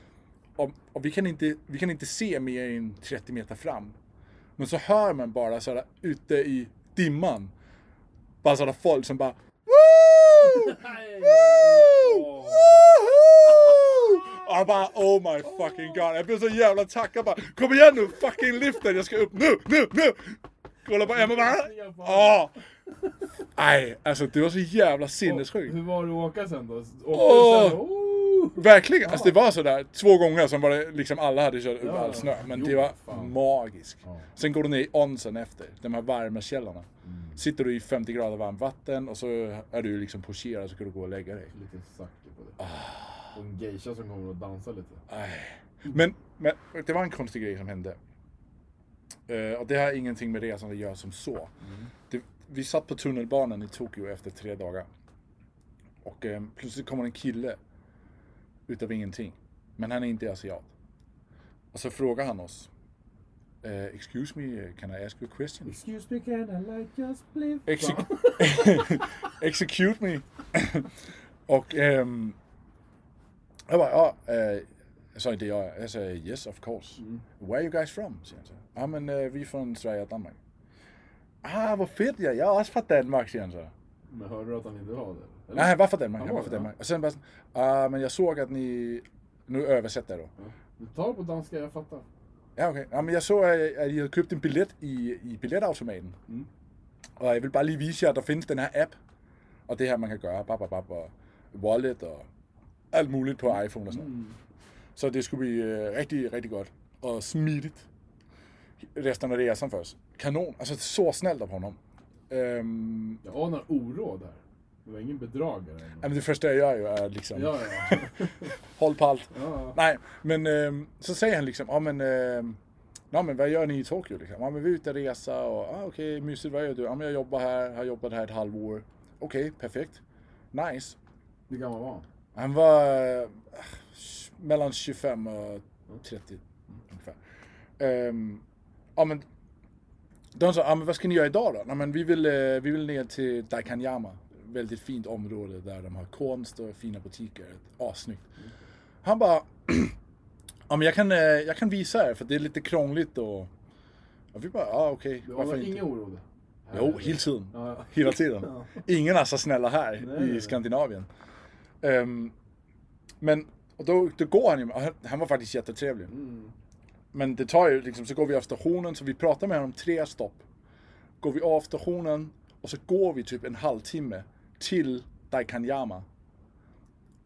Och, och vi, kan inte, vi kan inte se mer än 30 meter fram. Men så hör man bara sådär ute i dimman. Bara sådär folk som bara Woo! Nej! Woo! Åh. Woohoo! Och jag bara oh my fucking god. Jag blev så jävla taggad bara. Kom igen nu fucking liften. Jag ska upp nu, nu, nu. Kolla på Emma bara. Ja. Nej, alltså det var så jävla sinnessjukt. Hur var det att åka sen då? Åkte du Åh! sen? Oh! Verkligen! Alltså det var sådär två gånger som var det liksom alla hade kört över Ja. all snö. Men Jo, det var fan. magiskt. Ja. Sen går du ner i onsen efter, de här varma källorna. Sitter du i 50 grader varmt vatten och så är du liksom pocherad så kan du gå och lägga dig. Lite sacker på det. Ah. Och en geisha som kommer och dansar lite. Aj. Men, men det var en konstig grej som hände. Eh, och det har ingenting med resan att göra som så. Det, vi satt på tunnelbanan i Tokyo efter tre dagar. Och eh, plötsligt kommer en kille utav ingenting. Men han är inte asiat. Och så frågar han oss. eh, excuse me, can I ask you a question? Excuse me can I like just live? Exec- *laughs* execute me. och ehm, jag bara, ja, eh, jag sa inte jag, jag sa yes of course. Where are you guys from? säger han så. Ja men eh, vi är från Sverige och Danmark. Ah vad fett ja, jag är också från Danmark säger han så. Men hörde du att han inte var det? Nej han var från Danmark, Han han var var från det, ja. Danmark. Och sen bara, ah men jag såg att ni, nu översätter jag då. Du tar på danska, jag fattar. Ja, okej. Ja, men eh, jeg så, at at I havde købt en billet i, i billetautomaten. Mm. Og jeg vil bare lige vise jer, at der findes den her app. Og det her, man kan gøre. Bap, bap, bap, og wallet og alt muligt på iPhone og sådan Mm. noget. Så det skulle blive øh, rigtig, rigtig godt. Og smidigt. Resten af det er sådan først. Kanon. Altså, så snällt av honom. Øhm, Jag anar oråd här. Det var ingen bedragare. eller något. jamen, det første, jeg gør jo, er liksom... Ja, *laughs* ja. Hold på alt. ja. Nej, men ehm, så säger han liksom, ja men, ehm, ja men vad gör ni i Tokyo liksom? Ja men vi är ute och resa och, ah, okej mysigt, vad gör du? Ja men jag jobbar här, har jobbat här ett halvår. Okej, perfekt. Nice. Hur gammal var han? Han var eh, mellan 25 och 30 ungefär. Ehm, ja men, de sa, ja men vad ska ni göra idag då? Nej men vi vill, eh, vi vill ner till Daikanyama. Väldigt fint område där de har konst och fina butiker. Assnyggt. Han bara, *clears throat* ja men jag kan, eh, jag kan visa er för det är lite krångligt och... och vi bara, ja okej, Du varför anar inte? inga oråd? Jo, hela tiden. Ja. Hela tiden. Ingen är så snälla här Nej, nej, i nej. Skandinavien. Ehm, men och då, då går han ju, och han- han var faktiskt jättetrevlig. Mm. Men det tar ju liksom, så går vi av stationen, så vi pratar med honom tre stopp. Går vi av stationen och så går vi typ en halvtimme till Daikanyama.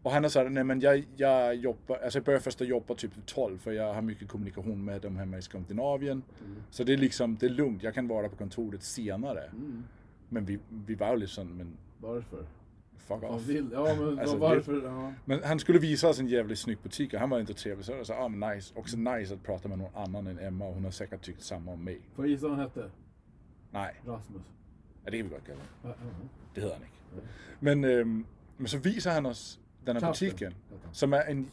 Och han är såhär, nej men jag, jag jobbar, alltså jag börjar första jobba typ 12 för jag har mycket kommunikation med dem hemma i Skandinavien. Så det är liksom, det är lugnt, jag kan vara på kontoret senare. Mm. Men vi, vi var ju liksom, men Varför? fuck Vad off. vill? Ja, men Alltså, vad- varför? Ja. Men han skulle visa oss en jävligt snygg butik och han var inte trevlig. Så jag sa, ah, men nice. Också nice att prata med någon annan än Emma och hon har säkert tyckt samma om mig. Får jag gissa vad han hette? Nej, Rasmus. Äh, ja, det kan vi gott kalla honom. Ja, ja, ja. Det hedder han ikke. Men, øhm, men så viser han os den her Kaffen. butiken, som er en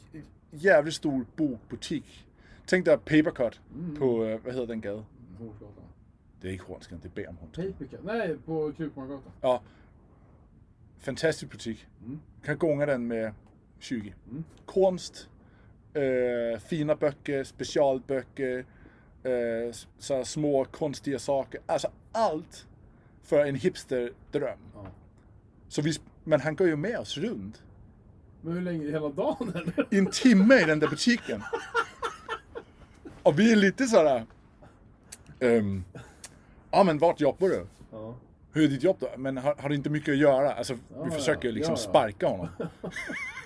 jävligt stor bogbutik. Tænk dig Papercut Mm. på, øh, hvad hedder den gade? Hornsgatan. Det är ikke Hornsgade, det er Bærumhornsgade. Tejpika? Nej, på Krukmangatan. Ja. Fantastisk butik. Kan gånga den med 20. Konst, eh, fina böcker, specialböcker, eh, s- så här små konstiga saker. Alltså allt för en hipsterdröm. Ja. Så vi, sp- men han går ju med oss runt. Men hur länge? Hela dagen eller? I en timme i den där butiken. Och vi är lite sådär... ehm, ja men vart jobbar du? Ja. Hur är ditt jobb då? Men har, har du inte mycket att göra? Alltså, vi ja, försöker ju liksom ja, ja. sparka *laughs* honom.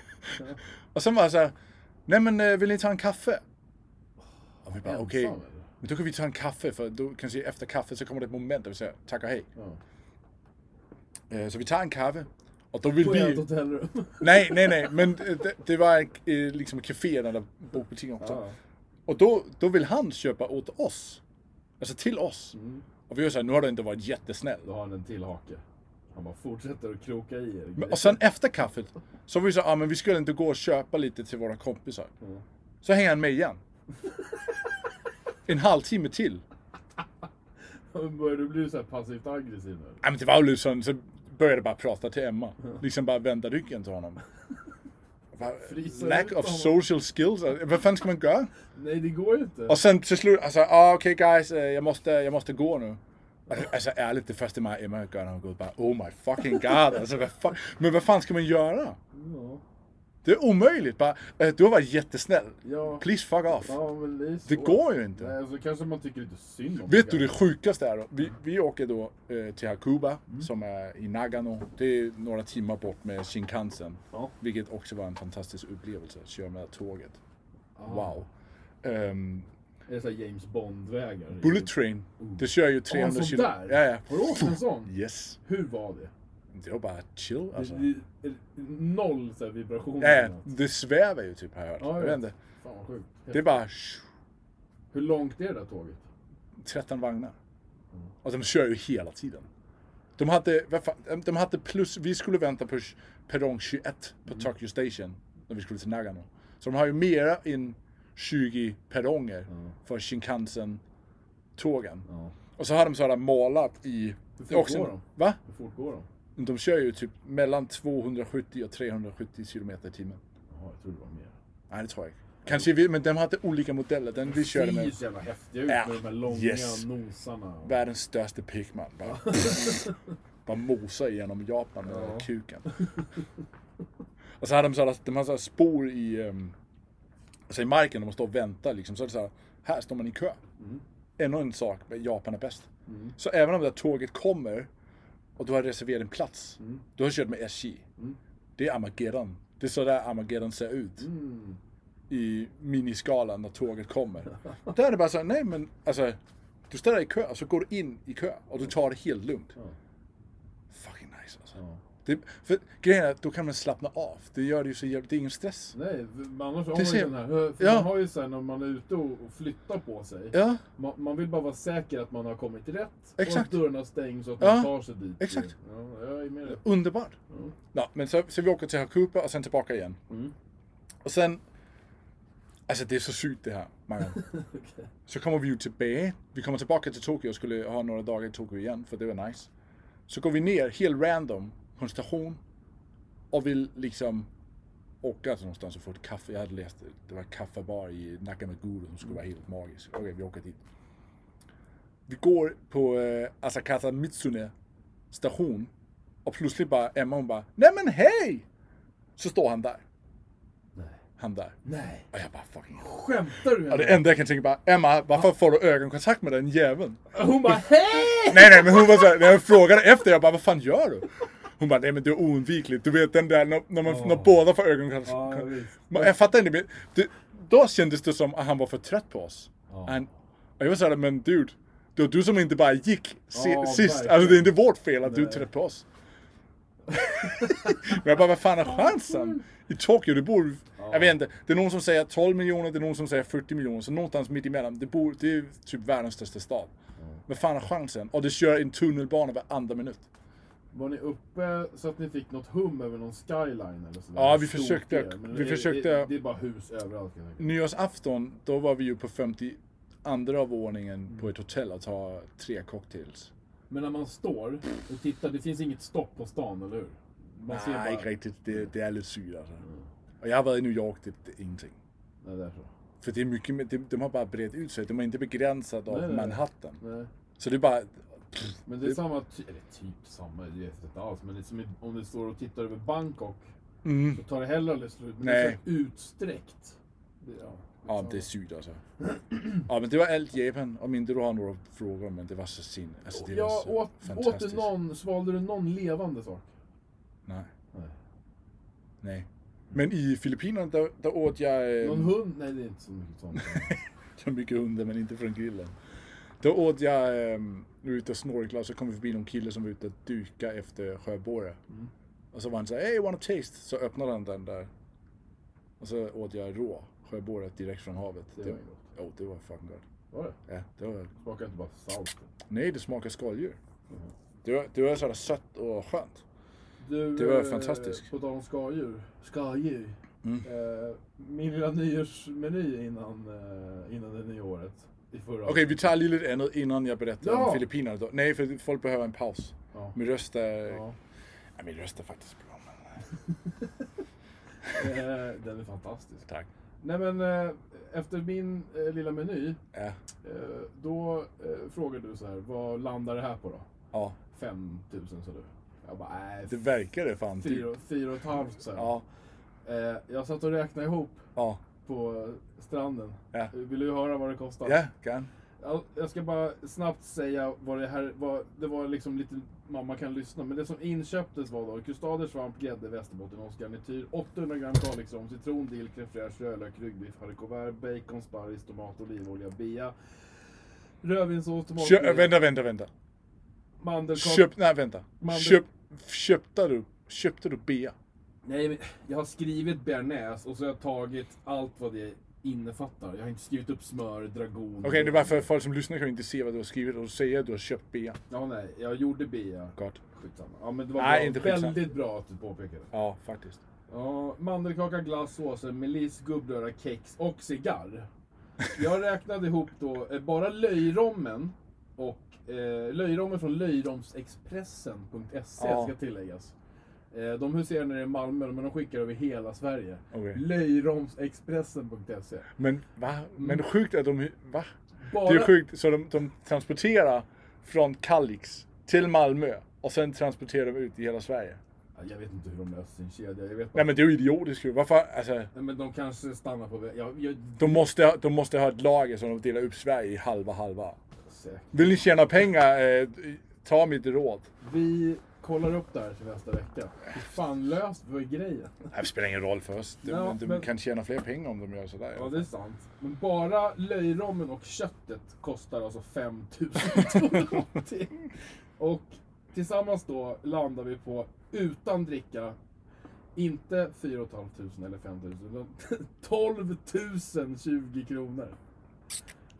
*laughs* och sen var jag så här, nej men eh, vill ni ta en kaffe? Och vi bara, Ensam, okej. eller? Men då kan vi ta en kaffe för då kanske efter kaffe så kommer det ett moment där vi säger tack och hej. Ja. Eh, Så vi tar en kaffe och då vill På ett vi... hotellrum. Nej, nej, nej, men eh, det, det var en, eh, liksom café där bokbutiken också. Ja. Och då, då vill han köpa åt oss. Alltså till oss. Mm. Och vi gör så här, nu har du inte varit jättesnäll. Då har han en till hake. Han bara fortsätter att kroka i er. Men- Och sen efter kaffet så var vi så här, ah, men vi skulle inte gå och köpa lite till våra kompisar. Mm. Så hänger han med *laughs* igen. En halvtimme till. alltså- *laughs* Börjar du bli så här passivt aggressiv nu? Nej men det var ju liksom, så började jag bara prata till Emma. Mm. Liksom bara vända ryggen till *laughs* honom. Bara, Frysa Lack ut of honom. social skills. Alltså, Vad fan ska man göra? Nej, det går ju inte. Och sen till slut, alltså, ah, okej guys, eh, jag måste, jag måste gå nu. Alltså, Alltså ärligt, det första man Emma gör när hon går ut bara oh my fucking god. Alltså, vad fan, men vad fan ska man göra? Ja. Det är omöjligt. Bara, eh, du har varit jättesnäll. Ja. Please fuck off. Ja, men det är så. Det går ju inte. Nej, så kanske man tycker lite synd om Vet du det sjukaste är då? Vi, vi åker då eh, till Hakuba Mm. som är i Nagano. Det är några timmar bort med Shinkansen. Ja. Vilket också var en fantastisk upplevelse, att köra med tåget. Ah. Wow. Ehm, Är det så här James Bond-vägar? Bullet Train, det kör ju Ja, 300 sån kilo. Ah, Ja, där? ja. Har du åkt en sån? Yes. Hur var det? Det var bara chill alltså. det, det noll så här vibrationer? Ja, eller ja. något. det svävar ju typ här. Ja, jag ja. vet inte. Fan vad sjukt. Det är bara shh, Hur långt är det där tåget? 13 vagnar. Mm. Och de kör ju hela tiden. De hade, vad fan, de hade plus, vi skulle vänta på perrong 21 på Mm. Tokyo Station när vi skulle till Nagano. Så de har ju mera än 20 perronger Mm. för Shinkansen-tågen. Ja. Och så har de sådana målat i... Hur fort det är också, går de? Va? Hur fort går de? De kör ju typ mellan 270 och 370 kilometer i timmen. Jaha, jag trodde det var mer. Nej, det tror jag inte. Kanske vi, men de hade olika modeller. Den vi körde Det ser ju med så jävla häftiga ut Ja, med de här långa yes. nosarna. Och... världens största pigman. Bara, bara mosa igenom Japan med den Ja. där kuken. Och så hade de sådana, de hade sådana spår i, ehm, alltså i marken, de står och väntar liksom. Så är det så här, här står man i kö. Mm, Ännu en sak, med Japan är bäst. Så även om det här tåget kommer och du har reserverat en plats, du har kört med SJ. mm, Det är Armageddon. Det är så där Armageddon ser ut. mm. I miniskalan när tåget kommer. Där är det bara så här, nej men alltså. Du ställer dig i kö och så går du in i kö och du tar det helt lugnt. Ja. Fucking nice alltså. Ja. Det, för grejen är att då kan man slappna av. Det gör det ju så jävligt, det är ingen stress. Nej, men annars har Det man ju ser- den här. För Ja. Man har ju sen när man är ute och och flyttar på sig. Ja, Man, man vill bara vara säker att man har kommit rätt. Och Exakt. att dörrarna stängs och att Ja, man tar sig dit. exakt. Ja, jag är med dig. underbart. Mm. Ja, men så, så vi åker till Hakuba och sen tillbaka igen. Mm. Och sen... Alltså det är så sjukt det här, Magnus. *laughs* Okej. Så kommer vi ju tillbaka. Vi kommer tillbaka till Tokyo och skulle ha några dagar i Tokyo igen, för det var nice. Så går vi ner, helt random, på en station. Och vill liksom åka till någonstans och få ett kaffe. Jag hade läst det. Det var en kaffebar i Nakamaguro som skulle vara helt magisk. Okej, vi åker dit. Vi går på eh, Asakata Mitsune station. Och plötsligt bara, Emma hon bara, Nej men hej! Så står han där. Nej. Han där. Nej. Och jag bara fucking... Skämtar du? Ja, det enda jag kan tänka bara, Emma, varför får du ögonkontakt med den jäveln? Hon bara hej! Nej, nej, men hon var såhär, när jag frågade efter, jag bara, vad fan gör du? Hon bara, nej men det är oundvikligt. Du vet den där, när, när, man, när båda får ögonkontakt. Ja, visst. Men jag fattar inte, men det, då kändes det som att han var för trött på oss. Ja. Han, och jag var såhär, men dude, det var du som inte bara gick si, Ja, sist. verkligen. Alltså det är inte vårt fel att du är Nej. trött på oss. *laughs* men jag bara, vad fan är chansen? I Tokyo, det bor, jag vet inte, det är någon som säger 12 miljoner, det är någon som säger 40 miljoner, så någonstans mitt emellan, det, bor, det är typ världens största stad. Vad fan är chansen? Och det kör en tunnelbana var andra minut. Var ni uppe så att ni fick något hum över någon skyline eller sådär? Ja, Hur vi stort försökte- det är? Men vi är- försökte- är- Det är bara hus överallt kan jag tänka. Nyårsafton, då var vi ju på 52 våningen på ett hotell att ta tre cocktails. Men när man står och tittar, det finns inget stopp på stan, eller hur? Man ser bara... Nej, inte riktigt. Det, det är lite sygt alltså. Och jag har varit i New York, typ, det, det är ingenting. Nej, där så. För det är mycket, mer- de, de har bara brett ut sig. De är inte begränsade av Nej, nej. Manhattan. Nej. Så det är bara... Men det är samma, ty- eller typ samma, det vet jag inte alls. Men det är som i- om du står och tittar över Bangkok, Mm. då tar det heller aldrig slut. Men det är Nej. så utsträckt. Det, ja, liksom. Ja, det är sykt alltså. Ja, men det var allt Japan. Om inte du har några frågor, men det var så sin. Alltså, det var ja, så åt, åt fantastiskt. du någon, svalde du någon levande sak? Nej. Nej. Nej. Men i Filippinerna, där, där åt jag... eh, *laughs* Någon hund? Nej, det är inte så mycket sånt. jag mycket under men inte från grillen. Då åt jag, eh, ute och snorklade så kom vi förbi någon kille som var ute och duka efter sjöborre. Mm, Och så var han såhär, hey wanna taste? Så öppnade han den där. Och så åt jag rå sjöborre direkt från havet. Det var gott. Jo, det var fan gott. Var det? Ja, det var... Smakar inte bara salt. Nej, det smakar skaldjur. Det var, det var sådär sött och skönt. Du, Det var eh, fantastiskt. Mm. På tal om skadjur. Skadjur. Eh, min lilla nyårsmeny innan, eh, innan det nya året. I förra Okej, vi tar lite annat innan jag berättar Ja. om Filippinerna. då. Nej, för folk behöver en paus. Ja. Min röst är... Ja. Nej, min röst är faktiskt bra. Men... *laughs* Eh, den är fantastisk. Tack. Nej men eh, efter min eh, lilla meny. Ja. Eh, då eh, frågar du så här, vad landar det här på då? ja, 5000 sa du. Jag bara, nej, det verkar det fan. typ. fyra, fyra och ett halvt så här. Ja, eh, Jag satt och räknade ihop ja, på stranden. Ja. Vill du höra vad det kostar? ja, kan. Ja, Jag ska bara snabbt säga vad det här var. Det var liksom lite, man, man kan lyssna, men det som inköptes var då kustader, svamp, grädde, västerbottenost, garnityr, 800 gram Kalix rom, citron, dill, crème fraîche, rödlök, ryggbiff, haricots verts, bacon, sparris, tomat, olivolja, bea, rödvinssås, Kö- tomatpuré, vänta, vänta, vänta. mandelkaka. Köp... Nej, vänta. Mandel- Köp... Köpte du... Köpte du bea? Nej, men jag har skrivit bearnaise och så har jag tagit allt vad det innefattar. Jag har inte skrivit upp smör, dragon. Okej, det är bara för folk som lyssnar kan inte se vad du har skrivit och säger att du har köpt bea. Ja, nej, jag gjorde bea. Gott. Skitsamma. Ja, men det var Nej, bra. inte skitsamma. väldigt bra att du påpekade. Ja, faktiskt. Ja, mandelkaka, glass, såser, meliss, gubbröra, kex och cigarr. Jag räknade ihop då eh, bara löjrommen och eh, löjrommen från löjromsexpressen.se Ja. ska tilläggas. Eh, de huserar nere i Malmö, men de skickar över hela Sverige. Okej. Löjromsexpressen.se. Men va? Men sjukt att de... Va? Bara- Det är sjukt. Så de, de transporterar från Kalix till Malmö och sen transporterar de ut i hela Sverige. Ja, Jag vet inte hur de löser sin kedja. Jag vet bara, Nej men det är ju idiotiskt ju. Varför? Alltså, Nej, men de kanske stannar på vägen. Jag, jag, de måste, de måste ha ett lager som de delar upp Sverige i halva halva. säkert. Vill ni tjäna pengar? Eh, ta mitt råd. Vi kollar upp det här till nästa vecka. Hur fan löst var grejen? Det spelar ingen roll för oss. De, Ja, de men- kan tjäna fler pengar om de gör sådär. Ja, det är sant. Men bara löjrommen och köttet kostar alltså 5280. och tillsammans då landar vi på, utan dricka, inte 4 500 eller 5 000, utan *laughs* 12 020 kronor.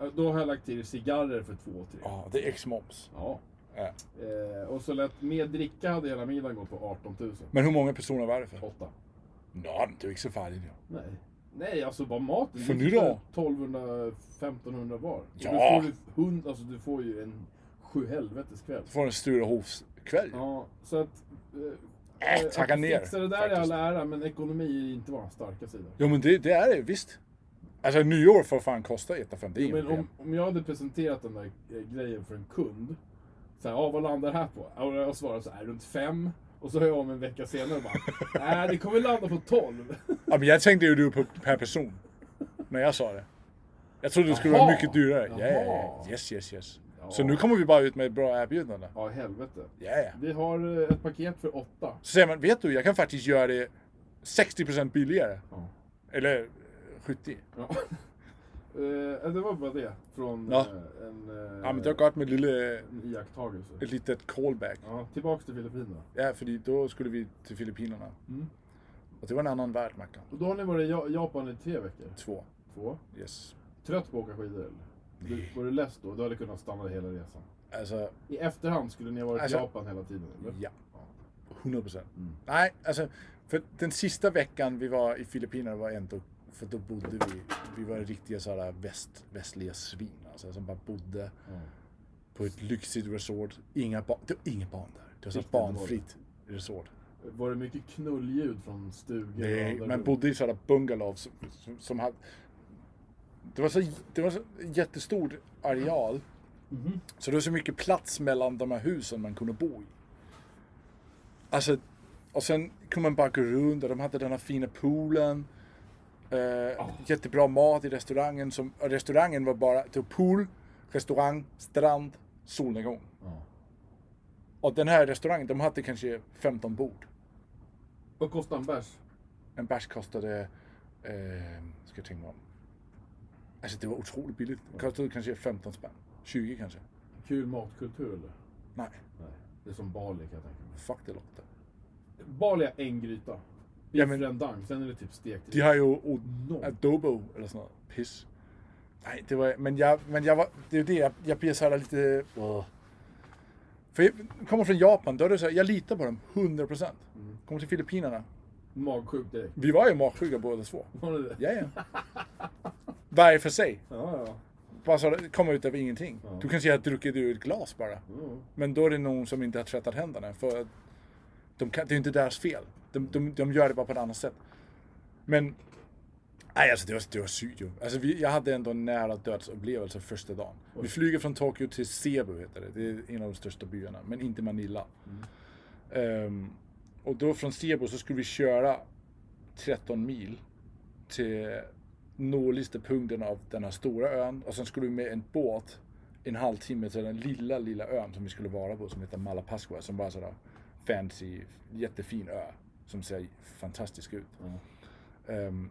Eh, Då har jag lagt till cigarrer för 2 000. Ja, det är ex-moms. Ja. Ja. Eh, och så lät med dricka hade hela middagen gått på 18 000. Men hur många personer var det för? 8. Nå, det är inte så farligt. Ja. Nej. Nej, alltså bara maten. För Det nu då? kostar 1200, 1500 var. Ja. Du får, ju hund, alltså du får ju en sju helvetes kväll. Du får en Sturehovskväll. Ja, så att... eh, Äh, tagga att ner, Fixa det där i faktiskt. all ära, men ekonomi är inte vår starka sida. Jo men det, det är det visst. Alltså nyår får fan kosta 1,50. Det är inget Men om, problem. om jag hade presenterat den där eh, grejen för en kund. Så här, ah, vad landar det här på? Ja, Och jag svarar så här, runt fem. Och så hör jag om en vecka senare och bara, nej det kommer landa på 12. Ja, men jag tänkte ju du på per person. När jag sa det. Jag trodde det skulle Jaha. vara mycket dyrare. Ja, ja, Jaha. ja. Yes, yes, yes. Ja. Så nu kommer vi bara ut med ett bra erbjudande. *laughs* Ja, helvete. Ja, ja. Vi har eh, ett paket för åtta. Så säger man, vet du, jag kan faktiskt göra det 60% billigare. Ja. Eller eh, 70. Ja. *laughs* Eh, det var bara det från Ja. eh, en, eh, Ja, men det var gott med lille, en iakttagelse. ett litet callback. Ja, tillbaks till Filippinerna. Ja, för då skulle vi till Filippinerna. Mm. Och det var en annan värld, Mackan. Och då har ni varit i Ja- Japan i tre veckor? Två. Två. Yes. Trött på att åka skidor eller? Du, var du less då? Du hade kunnat stanna hela resan. Alltså, I efterhand skulle ni ha varit i Alltså- Japan hela tiden eller? ja. 100 procent. Mm. Nej, alltså. För den sista veckan vi var i Filippinerna var ändå, för då bodde vi, vi var riktiga sådana väst, västliga svin alltså, som bara bodde Ja. på ett lyxigt resort. Inga barn, det var inga barn där. Det var ett Riktigt dåligt. barnfritt resort. Var det mycket knullljud från stugan? Det, och där man du- bodde i sådana bungalows som, som, som hade... Det var så, det var så jättestor areal. Mhm. Så det var så mycket plats mellan de här husen man kunde bo i. Alltså, och sen kunde man bara gå runt och de hade den här fina poolen. Eh, Jättebra mat i restaurangen. Som, och restaurangen var bara det var pool, restaurang, strand, solnedgång. Ja. Och den här restaurangen, de hade kanske 15 bord. Vad kostar en bärs? En bärs kostade, eh, ska jag tänka mig om, Alltså det var otroligt billigt. Kostade kanske 15 spänn. 20 kanske. Kul matkultur eller? Nej, Nej. Det är som Bali kan jag tänka mig. fuck det låter. Bali är en gryta. Ja, Ja, men- men... rendang, sen är det typ stekt. De har ju o- Noll. adobo eller sånt noget Piss. Nej, det var, men jeg, men jeg var, det er jo det, jeg, jeg bliver så der lidt... øh, For jeg kommer fra Japan, då är det så, här, jag litar på dem 100%. Kommer till Filippinerna. Magsjuk direkt. Vi var ju magsjuka båda två. Var det det? Ja, ja. Varje för sig. Ja, ja. Bara så det kommer ut av ingenting. Ja. Du kan säga att druckit ur ett glas bara. Mm. Men då är det någon som inte har tvättat händerna. För att de kan, det är ju inte deras fel. De, de, de gör det bara på ett annat sätt. Men... Nej, alltså det var, det var sykt ju. Alltså vi, jag hade ändå en nära dödsupplevelse första dagen. Vi flyger från Tokyo till Cebu heter det. Det är en av de största byarna, men inte Manila. Ehm, och då från Cebu så skulle vi köra 13 mil till nordligaste punkten av den här stora ön. Och sen skulle vi med en båt en halvtimme till den lilla, lilla ön som vi skulle vara på som heter Malapascua. Som bara är sådär fancy, jättefin ö. Som ser fantastisk ut. Ja. Ehm,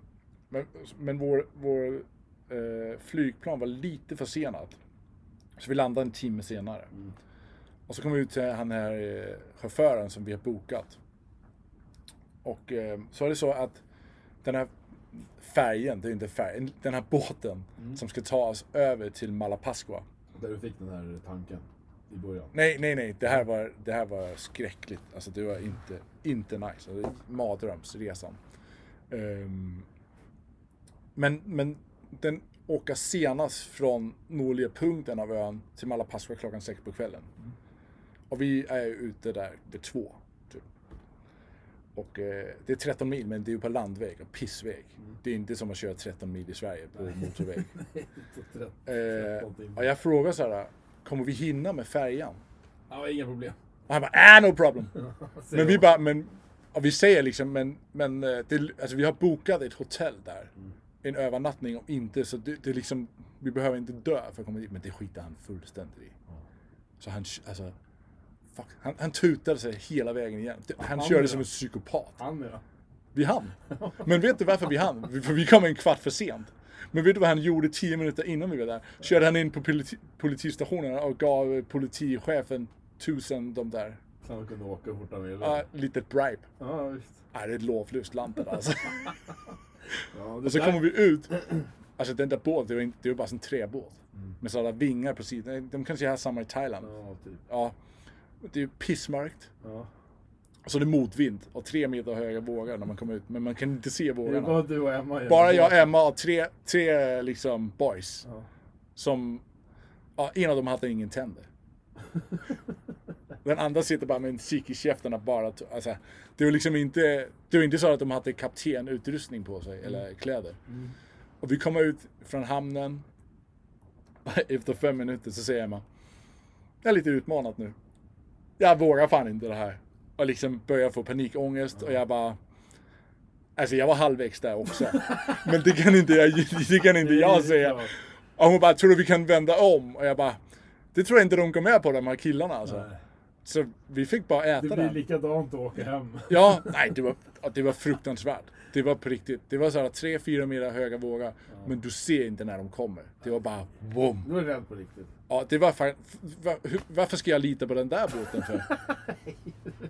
men men vår, vår eh, flygplan var lite försenat. Så vi landade en timme senare. Mm. Och så kom vi ut till han här eh, chauffören som vi har bokat. Och eh, så är det så att den här färjen, det är inte färjen, den här båten som ska ta oss över till Malapascua. Där du fick den här tanken i början. Nej, nej, nej. Det här var, det här var skräckligt. Alltså det var inte, inte nice. Alltså, det är mardrömsresan. Ehm, men, men den åker senast från nordliga punkten av ön till Malapascua klockan sex på kvällen. Och vi är ju ute där vid två. Typ. Och eh, det är 13 mil, men det är ju på landväg och pissväg. Det är inte som att köra 13 mil i Sverige på *laughs* motorväg. Så trött. Eh, Tretton timmar. och jag frågar så här, kommer vi hinna med färjan? Ja, inga problem. Och han bara, ah no problem. *laughs* Säger Men vi jag. bara, men, och vi säger liksom, men, men eh, det, alltså vi har bokat ett hotell där. En övernattning om inte, så det, det är liksom, vi behöver inte dö för att komma dit. Men det skiter han fullständigt i. Så han, alltså, fuck, han, han tutade sig hela vägen igen. Han Han körde med. som en psykopat. Han med. Vi hann. Men vet du varför vi hann? Vi- För vi kom en kvart för sent. Men vet du vad han gjorde tio minuter innan vi var där? Körde han in på politi- politistationen och gav eh, politichefen tusen de där Så han kunde åka hur fort han ville. Ja, lite bribe. Ja, visst. Nej, det är ett lovlöst land det där, *laughs* alltså. Ja, det Och så där- kommer vi ut. Alltså den där båten, det var inte- det var bara en träbåt. Mm. Med sådana vingar på sidan. De kanske har samma i Thailand. Ja, typ. Ja. Det är ju pissmörkt. Ja. Och så är det motvind och tre meter höga vågor när man kommer ut. Men man kan inte se Det är vågorna. bara du och Emma igen. Bara jag, Emma och tre, tre liksom boys. Ja. Som... Ja, en av dem hade ingen tänder. Den andra sitter bara med en sik i käften och bara... t- Alltså, det var liksom inte... Det var inte så att de hade kaptenutrustning på sig, eller kläder. Och vi kommer ut från hamnen. *laughs* Efter fem minuter så säger Emma. Jag är lite utmanad nu. Jag vågar fan inte det här. Och liksom börjar få panikångest och jag bara... Alltså jag var halvvägs där också. Men det kan inte jag, *laughs* det kan inte Det är jag helt säga. klart. Och hon bara, tror du vi kan vända om? Och jag bara, det tror jag inte de går med på de här killarna alltså. Nej. Så vi fick bara äta Det den. blir likadant att åka hem. Ja, nej det var, ja, det var fruktansvärt. Det var på riktigt. Det var såhär 3-4 meter höga vågor. Men du ser inte när de kommer. Det var bara boom. Du är rädd på *laughs* riktigt. Ja, det var fan, va- hur- varför ska jag lita på den där båten *laughs* för?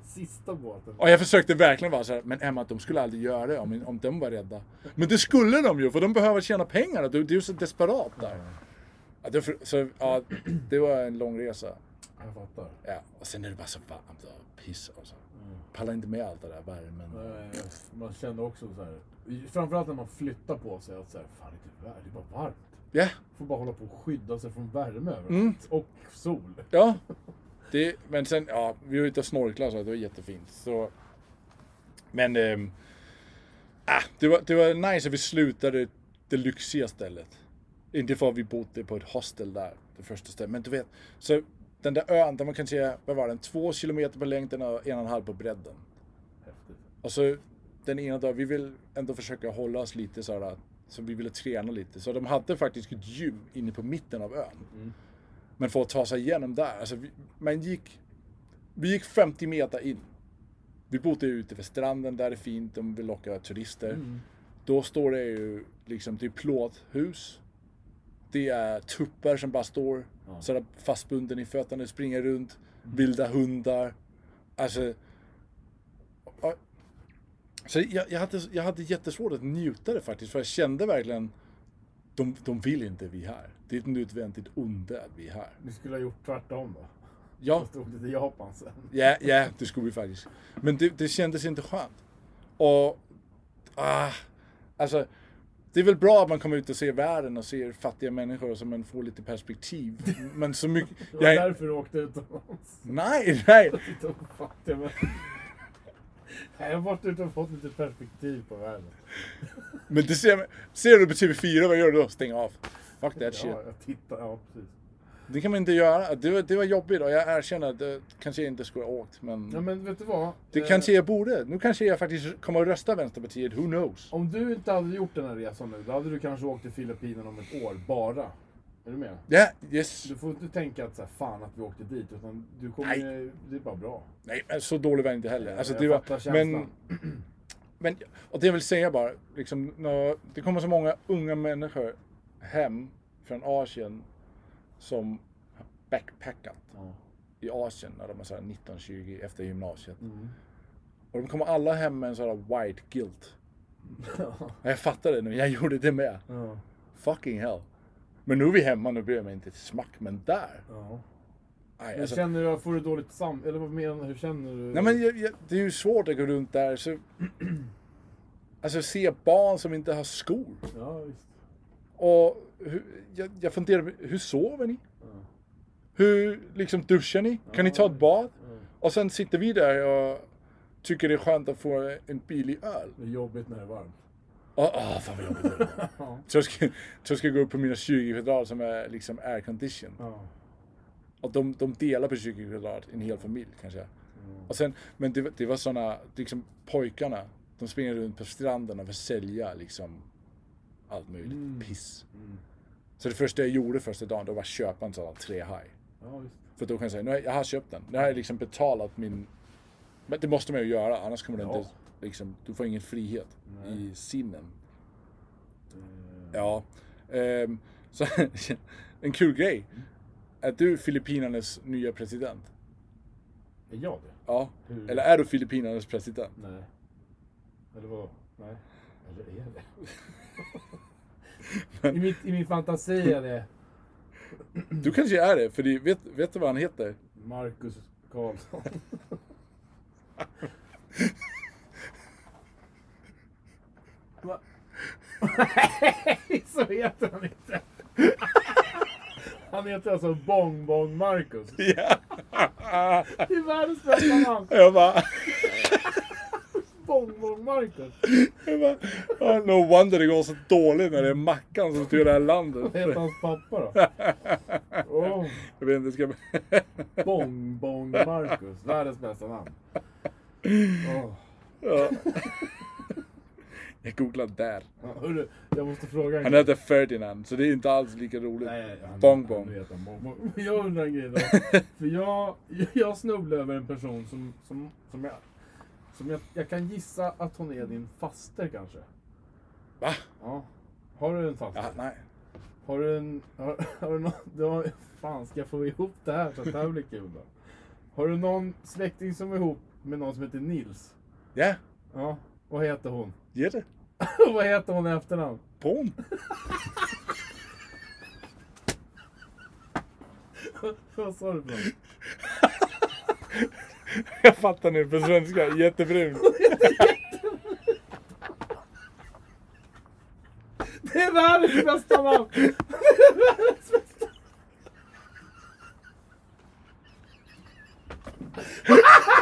Sista båten. Och jag försökte verkligen vara såhär, men Emma de skulle aldrig göra det om, om de var rädda. Men det skulle de ju, för de behöver tjäna pengar. Du, du är ju så desperat där. Ja, det, var fru- så, ja, det var en lång resa. Jag fattar. Ja, och sen är det bara så varmt och piss och så. Pallar inte med allt det där värmen. Nej, Eh, Man känner också så här. Framförallt när man flyttar på sig att så här, fan det är inte värme, det är bara varmt. Ja, Får bara hålla på och skydda sig från värme överallt. Mm. Och sol. ja. Det, men sen, ja, vi var ute och snorklade så det var jättefint. Så. Men, ehm, ah, det, var, det var nice att vi slutade det lyxiga stället. Inte för att vi bodde på ett hostel där, det första stället. Men du vet, så den där ön, där man kan säga, vad var den, två kilometer på längden och en och en halv på bredden. Häftigt. Och så Alltså, den ena dagen, vi vill ändå försöka hålla oss lite så här, så vi ville träna lite. Så de hade faktiskt ett gym inne på mitten av ön. Men för att ta sig igenom där, alltså vi, man gick, vi gick 50 meter in. Vi bodde ute vid stranden, där är fint, de vill locka turister. Då står det ju liksom, det är plåthus. Det är tuppar som bara står Ja. sådär fastbunden i fötterna, springer runt, vilda hundar. Alltså... ja. Så jag, jag, hade, jag hade jättesvårt att njuta det faktiskt, för jag kände verkligen de, de vill inte vi är här. Det är ett nödvändigt onda att vi är här. Du skulle ha gjort tvärtom då. *laughs* Ja, Och stod det till Japan sen. Ja, ja, det skulle vi faktiskt. Men det, det kändes inte skönt. Och... Ah, alltså, det är väl bra att man kommer ut och ser världen och ser fattiga människor så man får lite perspektiv. Men så mycket... *laughs* Det var Jag, därför du åkte utomlands. *laughs* nej, nej! Titta på fattiga människor. *laughs* Nej, Jag har varit ute och fått lite perspektiv på världen. Men det ser, ser du på TV4, vad gör du då? Stäng av. Fuck Ja, that shit. jag tittar. Ja, precis. Det kan man inte göra. Det var, det var jobbigt och jag erkänner att det kanske jag inte skulle ha åkt. Ja, Men men vet du vad? det Eh, kanske jag borde. Nu kanske jag faktiskt kommer att rösta Vänsterpartiet. Who knows? Om du inte hade gjort den här resan nu, då hade du kanske åkt till Filippinerna om ett år, bara. Är du med? Ja, yes. Du får inte tänka att så här, fan att vi åkte dit, utan du kommer, det är bara bra. Nej, men så dålig var jag inte heller. Alltså, Jag det var, fattar känslan. men, men, och det jag vill säga bara, liksom, när, det kommer så många unga människor hem från Asien som har backpackat Ja. i Asien när de är så här 19-20 efter gymnasiet. Mm. *laughs* Och de kommer alla hem med en sån här white guilt. Ja, Jag fattar det nu, jag gjorde det med. ja. Fucking hell. Men nu är vi hemma, nu bryr jag mig inte ett smack. Men där! ja. Aj, Men alltså, känner du, får du dåligt sam... Eller vad menar du? Hur känner du? Nej men jag, jag, det är ju svårt att gå runt där så... *clears throat* Alltså se barn som inte har skor. Ja, visst. Och hur, jag, jag funderar, hur sover ni? Ja. Hur liksom duschar ni? Kan ni ta ett bad? Ja. Och sen sitter vi där och tycker det är skönt att få en billig öl. Det är jobbigt när det *laughs* är varmt. Åh, åh, fan vad jobbigt *laughs* det var. Ja. Så jag ska, så jag ska gå upp på mina 20 kvadrat som är liksom aircondition. Ja. Och de, de delar på 20 kvadrat, en hel familj kanske. Och sen, men det, var- det var såna, liksom pojkarna, de springer runt på stranden och försäljer liksom allt möjligt Mm. piss. Mm. Så det första jag gjorde första dagen, då var att köpa en sån här trehaj. Ja, visst. För då kan jag säga, nu har jag, jag har köpt den. Nu har jag liksom betalat min... Men det måste man ju göra, annars kommer du Ja. inte... Liksom, du får ingen frihet Nej. i sinnen. Eh, Ja. Ehm, *laughs* så, en kul grej. Är du Filippinernas nya president? Är jag det? Ja. Hur? Eller är du Filippinernas president? Nej. Eller vad? Nej. Eller är *laughs* det? I, mitt, I min fantasi är det Du kanske är det, för det- vet, vet du vad han heter? Marcus Karlsson. Va? Nej, så heter han inte. Han heter alltså Bong Bong Marcus. *laughs* Ja. Det är världens bästa namn. Jag bara... Bong Bong Marcus. Jag bara oh, no wonder det går så dåligt när det är Mackan som styr det här landet. Vad heter hans pappa då? Åh. *laughs* Jag vet inte, ska... Bong Bong Marcus. Världens bästa namn. Åh. Ja. *laughs* Jag googlar där. Hörru, jag måste fråga en Han heter Ferdinand, så det är inte alls lika roligt. Nej, han- Bong Bong. han heter Bong Bong. Men Jag undrar en grej då. För jag, jag snubblade över en person som, som, som, jag, som jag, jag kan gissa att hon är din faster kanske. Va? Ja. Har du en Ja, faster? nej. Har du en... Har, har du någon, du har, fan, ska jag få ihop det här så att det här blir kul då? Har du någon släkting som är ihop med någon som heter Nils? Ja, Ja. Vad heter hon? *laughs* ge det. Vad heter hon i efternamn? *laughs* Porn. Vad sa du för något? *laughs* Jag fattar nu på svenska. Jättebrun. Det är världens bästa namn! Det är världens bästa *laughs*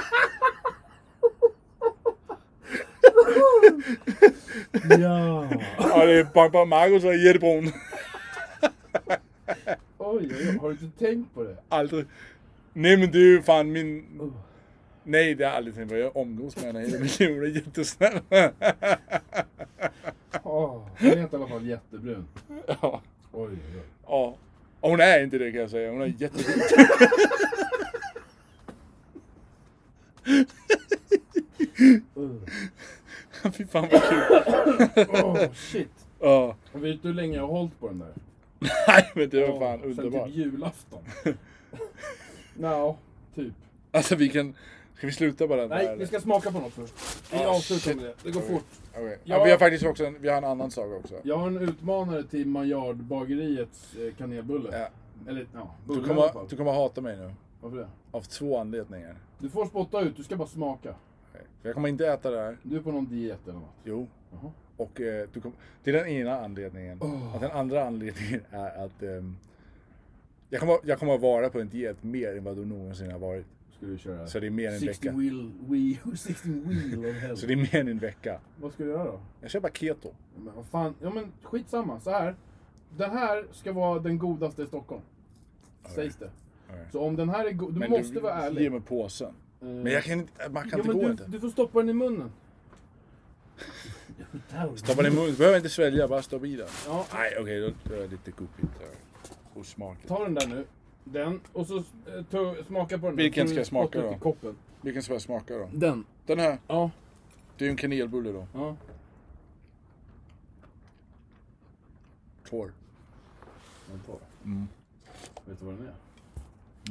Ja. Ja, det är Bang Bang Marcus och jättebrun. Oj, oj, oj, har du inte tänkt på det? Aldrig. Nej men du, fan min... Oh. Nej, det har jag aldrig tänkt på. Jag omgås med henne hela mitt liv. Hon är jättesnäll. Oh, han är i alla fall jättebrun. Ja. Oj, oj, oj. Ja. Och hon är inte det kan jag säga. Hon är jättebrun. Ugh. *laughs* Fy fan vad kul. Åh, shit. Ja. Oh, Vet du hur länge jag har hållit på den där? Nej men det var Ja, fan Sen underbart. *laughs* typ julafton. Nja, typ. Alltså vi kan... Ska vi sluta bara där? Nej, eller? vi ska smaka på något först. Vi Ah, avslutar shit. med det. Det går Okej. fort. Okej. Ja. Ja. vi har faktiskt också en, vi har en annan saga också. Jag har en utmanare till Maillard-bageriets eh, kanelbulle. Ja. Eller ja, bulle Du, i alla fall. kommer, du kommer hata mig nu. Varför det? Av två anledningar. Du får spotta ut, du ska bara smaka. Okej. För Jag kommer inte äta det här. Du är på någon diet eller något. Jo. Jaha. Och eh, du kom, det är den ena anledningen. Åh. Att den andra anledningen är att ehm, jag, kommer, jag kommer att vara på en diet mer än vad du någonsin har varit. Ska du köra? Så det är mer än en 60 vecka. wheel, wheel, *laughs* 60 wheel of hell. Så det är mer än en vecka. Vad ska du göra då? Jag kör bara keto. Men vad fan, ja men skitsamma. Så här. Den här ska vara den godaste i Stockholm. Sägs det. Okej. Så om den här är god, du Men måste vara ärlig. Ge mig påsen. Men jag kan inte, man kan ja, inte men gå du, inte. du får stoppa den i munnen. Stoppa den i munnen, du behöver inte svälja, bara stoppa i den. Ja, Nej okej, då- då är det lite gubbigt. där. Osmakligt. ta den där nu. Den. Och så eh, ta, smaka på den. där. Vilken Så ska jag smaka spotta ut då? i Koppen. Vilken ska jag smaka då? Den. Den här, Ja. det är ju en kanelbulle då. ja. Torr. Den tar. Mm. Vet du vad den är?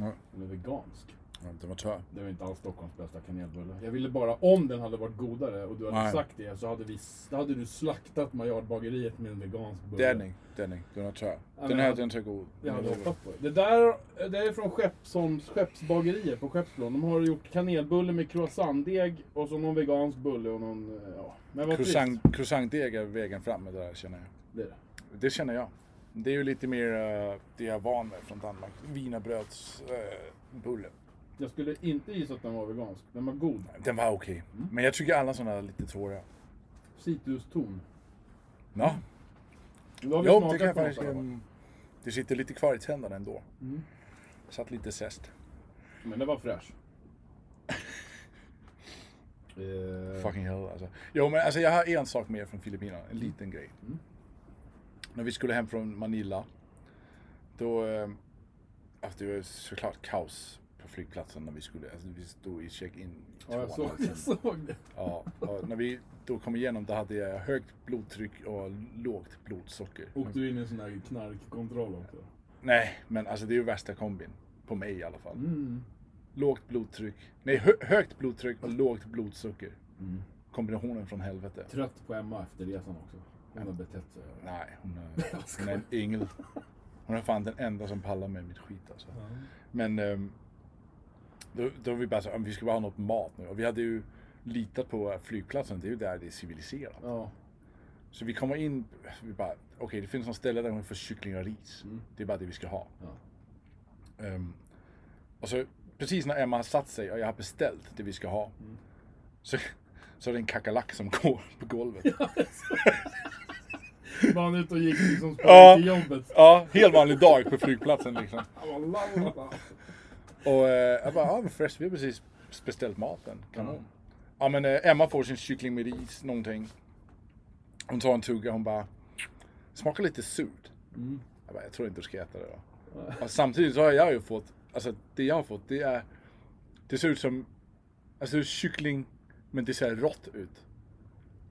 Ja, Den är vegansk. ja, den var torr. Det var inte alls Stockholms bästa kanelbulle. Jag ville bara, om den hade varit godare och du hade Nej. sagt det, så hade, vi, då hade du slaktat Maillard-bageriet med en vegansk bulle. Denning, denning, den var torr. men Den här, jag- den ser god. Jag hade Den är god. hoppat på det. Det där det är från Skeppsholms skeppsbagerier på Skeppsbron. De har gjort kanelbulle med croissantdeg och så någon vegansk bulle och någon... eh, Ja. Men vad trist. Croissant- Croissantdeg är vägen fram med det där känner jag. Det är det. Det känner jag. Det är ju lite mer eh, det jag är van med från Danmark. Wienerbrödsbulle. Jag skulle inte gissa att den var vegansk. Den var god. den var okej. Mm. Men jag tycker alla sådana är lite tåriga. Citruston. Ja, Då har vi jo, det smakat kan jag på något faktiskt... i alla fall. ehm, Det sitter lite kvar i tänderna ändå. Mm. Satt lite zest. Men den var *laughs* fräsch. Eh, Fucking hell alltså. Jo men alltså jag har en sak mer från Filippinerna, en liten grej. Mm. När vi skulle hem från Manila, då... eh, Alltså det var såklart kaos på flygplatsen när vi skulle, alltså vi stod i check-in Ja, jag tvåan, såg, alltså. *laughs* jag såg det. Ja, och när vi då kom igenom då hade jag högt blodtryck och lågt blodsocker. Åkte du in i en sån här knarkkontroll också? Nej, men alltså det är ju värsta kombin. På mig i alla fall. Mm. Lågt blodtryck. Nej, hö högt blodtryck och lågt blodsocker. Mm. Kombinationen från helvete. Trött på Emma efter resan också. Hon har betett sig. *laughs* Nej, hon är, hon är en yngel. Hon är fan den enda som pallar med mitt skit alltså. Men ehm, då, då var vi bara så, "Ah, men vi ska bara ha något mat nu. Och vi hade ju litat på flygplatsen, det är ju där det är civiliserat. Ja. Så vi kommer in, vi bara, okej det finns något ställe där man får kyckling och ris. Mm. Det är bara det vi ska ha. Ja. Ehm, och så precis när Emma har satt sig och jag har beställt det vi ska ha. Så, så är det en kackerlack som *laughs* går på golvet. Ja, Var han ute och gick liksom Ja. sprang till jobbet? helt vanlig dag på flygplatsen liksom. Han var lallala. Och eh, jag bara, ja men förresten vi har precis beställt maten. Kanon. Ja men eh, Emma får sin kyckling med ris, någonting. Hon tar en tugga, hon bara, smakar lite surt. Mm. Jag bara, jag tror inte du ska äta det då. Och samtidigt så har jag ju fått, alltså det jag har fått det är, det ser ut som, alltså det är kyckling men det ser rått ut.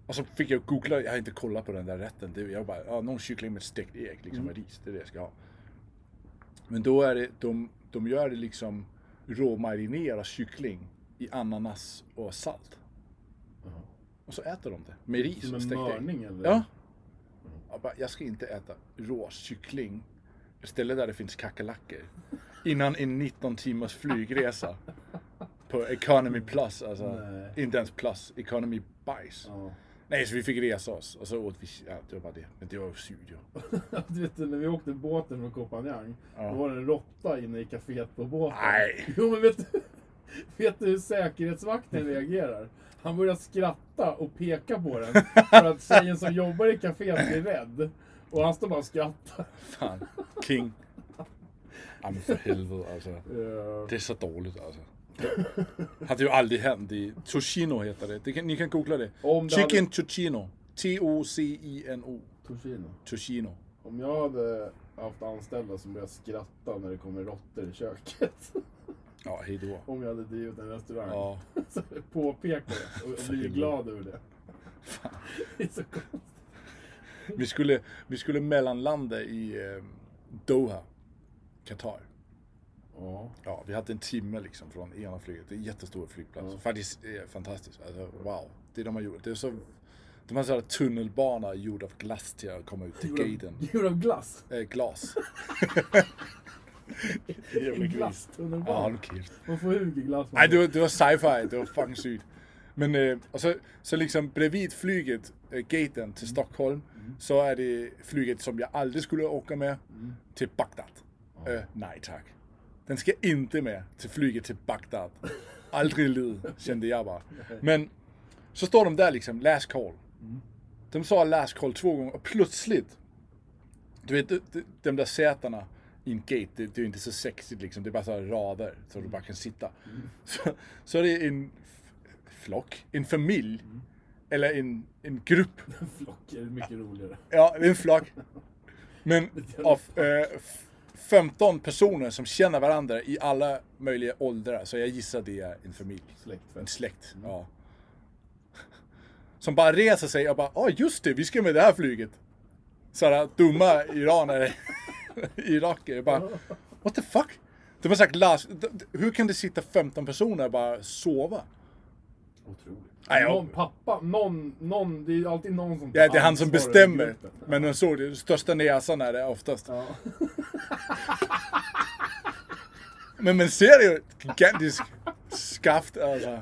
Och så fick jag googla, jag har inte kollat på den där rätten. Det- Jag bara, ja, någon kyckling med stekt ägg liksom med ris, det är det jag ska ha. Men då är det, de, de gör det liksom råmarinerad kyckling i ananas och salt. Jaha. Och så äter de det med ris Som och en stekt ägg. mörning eller? Ja. Jag, bara, jag ska inte äta rå kyckling istället där det finns kackerlackor. Innan en 19 timmars flygresa. På economy plus alltså. Nej. Inte ens plus, economy bajs. Ja. *laughs* Nej, så vi fick resa oss och så åt vi, ja det var bara det. Men det var ju surt ju. Du vet när vi åkte båten från Kopanjang. Ja. Då var det en råtta inne i kaféet på båten. Nej. Jo men vet du, *laughs* vet du hur säkerhetsvakten reagerar? Han börjar skratta och peka *laughs* på den. För att tjejen som jobbar i kaféet blir rädd. Och han står bara och skrattar. Fan, king. Ja men för helvete alltså. Eh, Det är så dåligt alltså. Det hade ju aldrig hänt i... Tocino heter det. det kan, ni kan googla det. Om det Chicken hade- Tocino. T-O-C-I-N-O. Toshino. Tocino. Om jag hade haft anställda som började skratta när det kommer råttor i köket. *laughs* Ja, hejdå. Om jag hade drivit en restaurang. Ja. *laughs* Så påpeka det och bli glad över det. *laughs* Det är så konstigt. Vi skulle, vi skulle mellanlanda i, eh, Doha, Qatar. Ja. Ja, vi hade en timme liksom från ena flyget. Det är en jättestor flygplats. Ja. Faktiskt eh, fantastiskt. Alltså, wow. Det de har gjort. Det är så... De har sådana tunnelbana gjord av glass till att komma ut till gaten. Gjord av glass. Eh, glas. En glass Ja, tunnelbana. de kilt. Man får hugeglass. Nej, det var, det var sci-fi. Det var fucking sykt. Men eh, och så, så liksom bredvid flyget, eh, gaten till Stockholm, så är det flyget som jag aldrig skulle åka med till Bagdad. Eh, nej tack. Den ska inte med till flyget till Bagdad. Aldrig i livet, kände jag bara. Men så står de där liksom, last call. De sa last call två gånger och plötsligt, du vet de- de- de där sätena i en gate, det, det är inte så sexigt liksom. Det är bara så här rader så du bara kan sitta. Så, så är det en f- flock, en familj, eller en, en grupp. Flock är mycket roligare. Ja, det är en flock. Men jävla av eh, f- 15 personer som känner varandra i alla möjliga åldrar, så jag gissar det är en familj. En Släktfest. släkt. Ja. Som bara reser sig och bara, ja just det, vi ska med det här flyget. Sådana dumma iranare, iraker. Bara, what the fuck? De har sagt, Lars, d- d- hur kan det sitta 15 personer och bara sova? Otroligt. Nej, jag- Någon pappa, någon, någon, det är ju alltid någon som tar Ja, det är han som ansvar över bestämmer. gruppen. Men den såg det, största näsan är det oftast. Ja. Men man ser det ju, ett gigantiskt skaft alltså.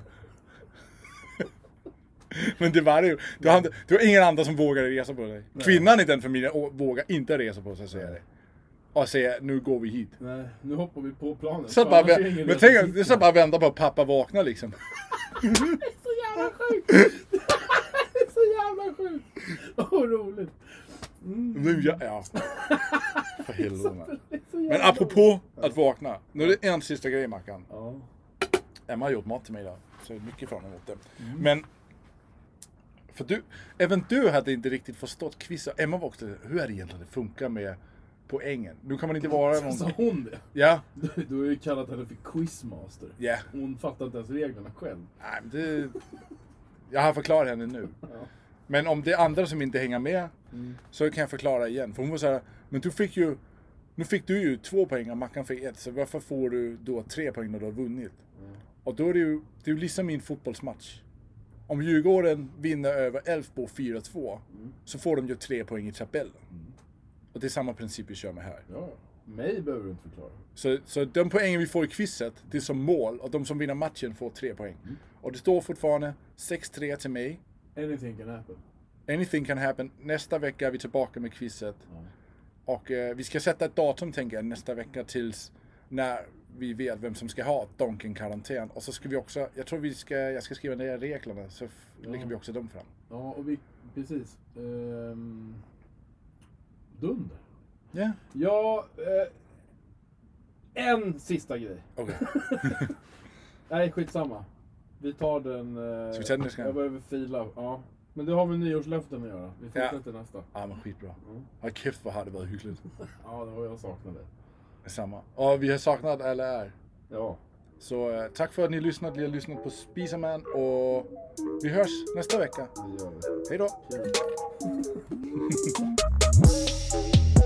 *laughs* Men det var det ju. Det var, han- det var ingen annan som vågade resa på sig. Kvinnan i den familjen å- vågar inte resa på sig, säger det. Och säger, nu går vi hit. Nej, nu hoppar vi på planet. Så För bara, annars är det ingen men lösning. tänk, att- det är så bara vänta på att pappa vaknar liksom. så jävla *laughs* sjukt! det är så jävla sjukt! Åh, vad roligt! Nu, ja, *laughs* ja. För helvete. man. Det är Mm. så Men jävla roligt. apropå att vakna. Nu är det en sista grej Mackan. Ja. Emma har gjort mat till mig idag. Så jag är mycket fram emot det. Men... För du, även du hade inte riktigt förstått quizar. Emma var också, hur är det egentligen det funkar med poängen? Nu kan man inte vara *laughs* någon... Sa hon det? Ja, Du, du har ju kallat henne för quizmaster. ja. Hon fattar inte ens reglerna själv. Nej, men det... Jag har förklarat henne nu. Ja. Men om det är andra som inte hänger med, så kan jag förklara igen. För hon var så här, men du fick ju... Nu fick du ju två poäng och Mackan fick ett, så varför får du då tre poäng när du har vunnit? Och då är det ju, det är ju liksom min fotbollsmatch. Om Djurgården vinner över Elfsborg 4-2, så får de ju tre poäng i tabellen. Och det är samma princip vi kör med här. ja. Mig behöver du inte förklara. Så, så de poängen vi får i quizet, det är som mål och de som vinner matchen får tre poäng. Och det står fortfarande 6-3 till mig. Anything can happen. Anything can happen. Nästa vecka är vi tillbaka med quizet. Och eh, vi ska sätta ett datum tänker jag nästa vecka tills när vi vet vem som ska ha Donken-karantän. Och så ska vi också, jag tror vi ska, jag ska skriva ner reglerna så f- lägger vi också dem fram. Ja, och vi, precis. Ehm, dunder. Ja, Ja, eh, en sista grej. okej. *laughs* Nej, skitsamma. Vi tar den... Eh, Ska vi ta den nästa gång? Jag behöver fila. Ja. Men det har med nyårslöften att göra. Vi Ja. fortsätter nästa. Ja Ah, men skitbra. Vad kefft vad hade varit hyggligt. Ja, det var jag saknade. Samma. Och vi har saknat alla er. Ja. Så eh, tack för att ni har lyssnat. Ni har lyssnat på Spisaman och vi hörs nästa vecka. Vi gör det. Hej då! Kul.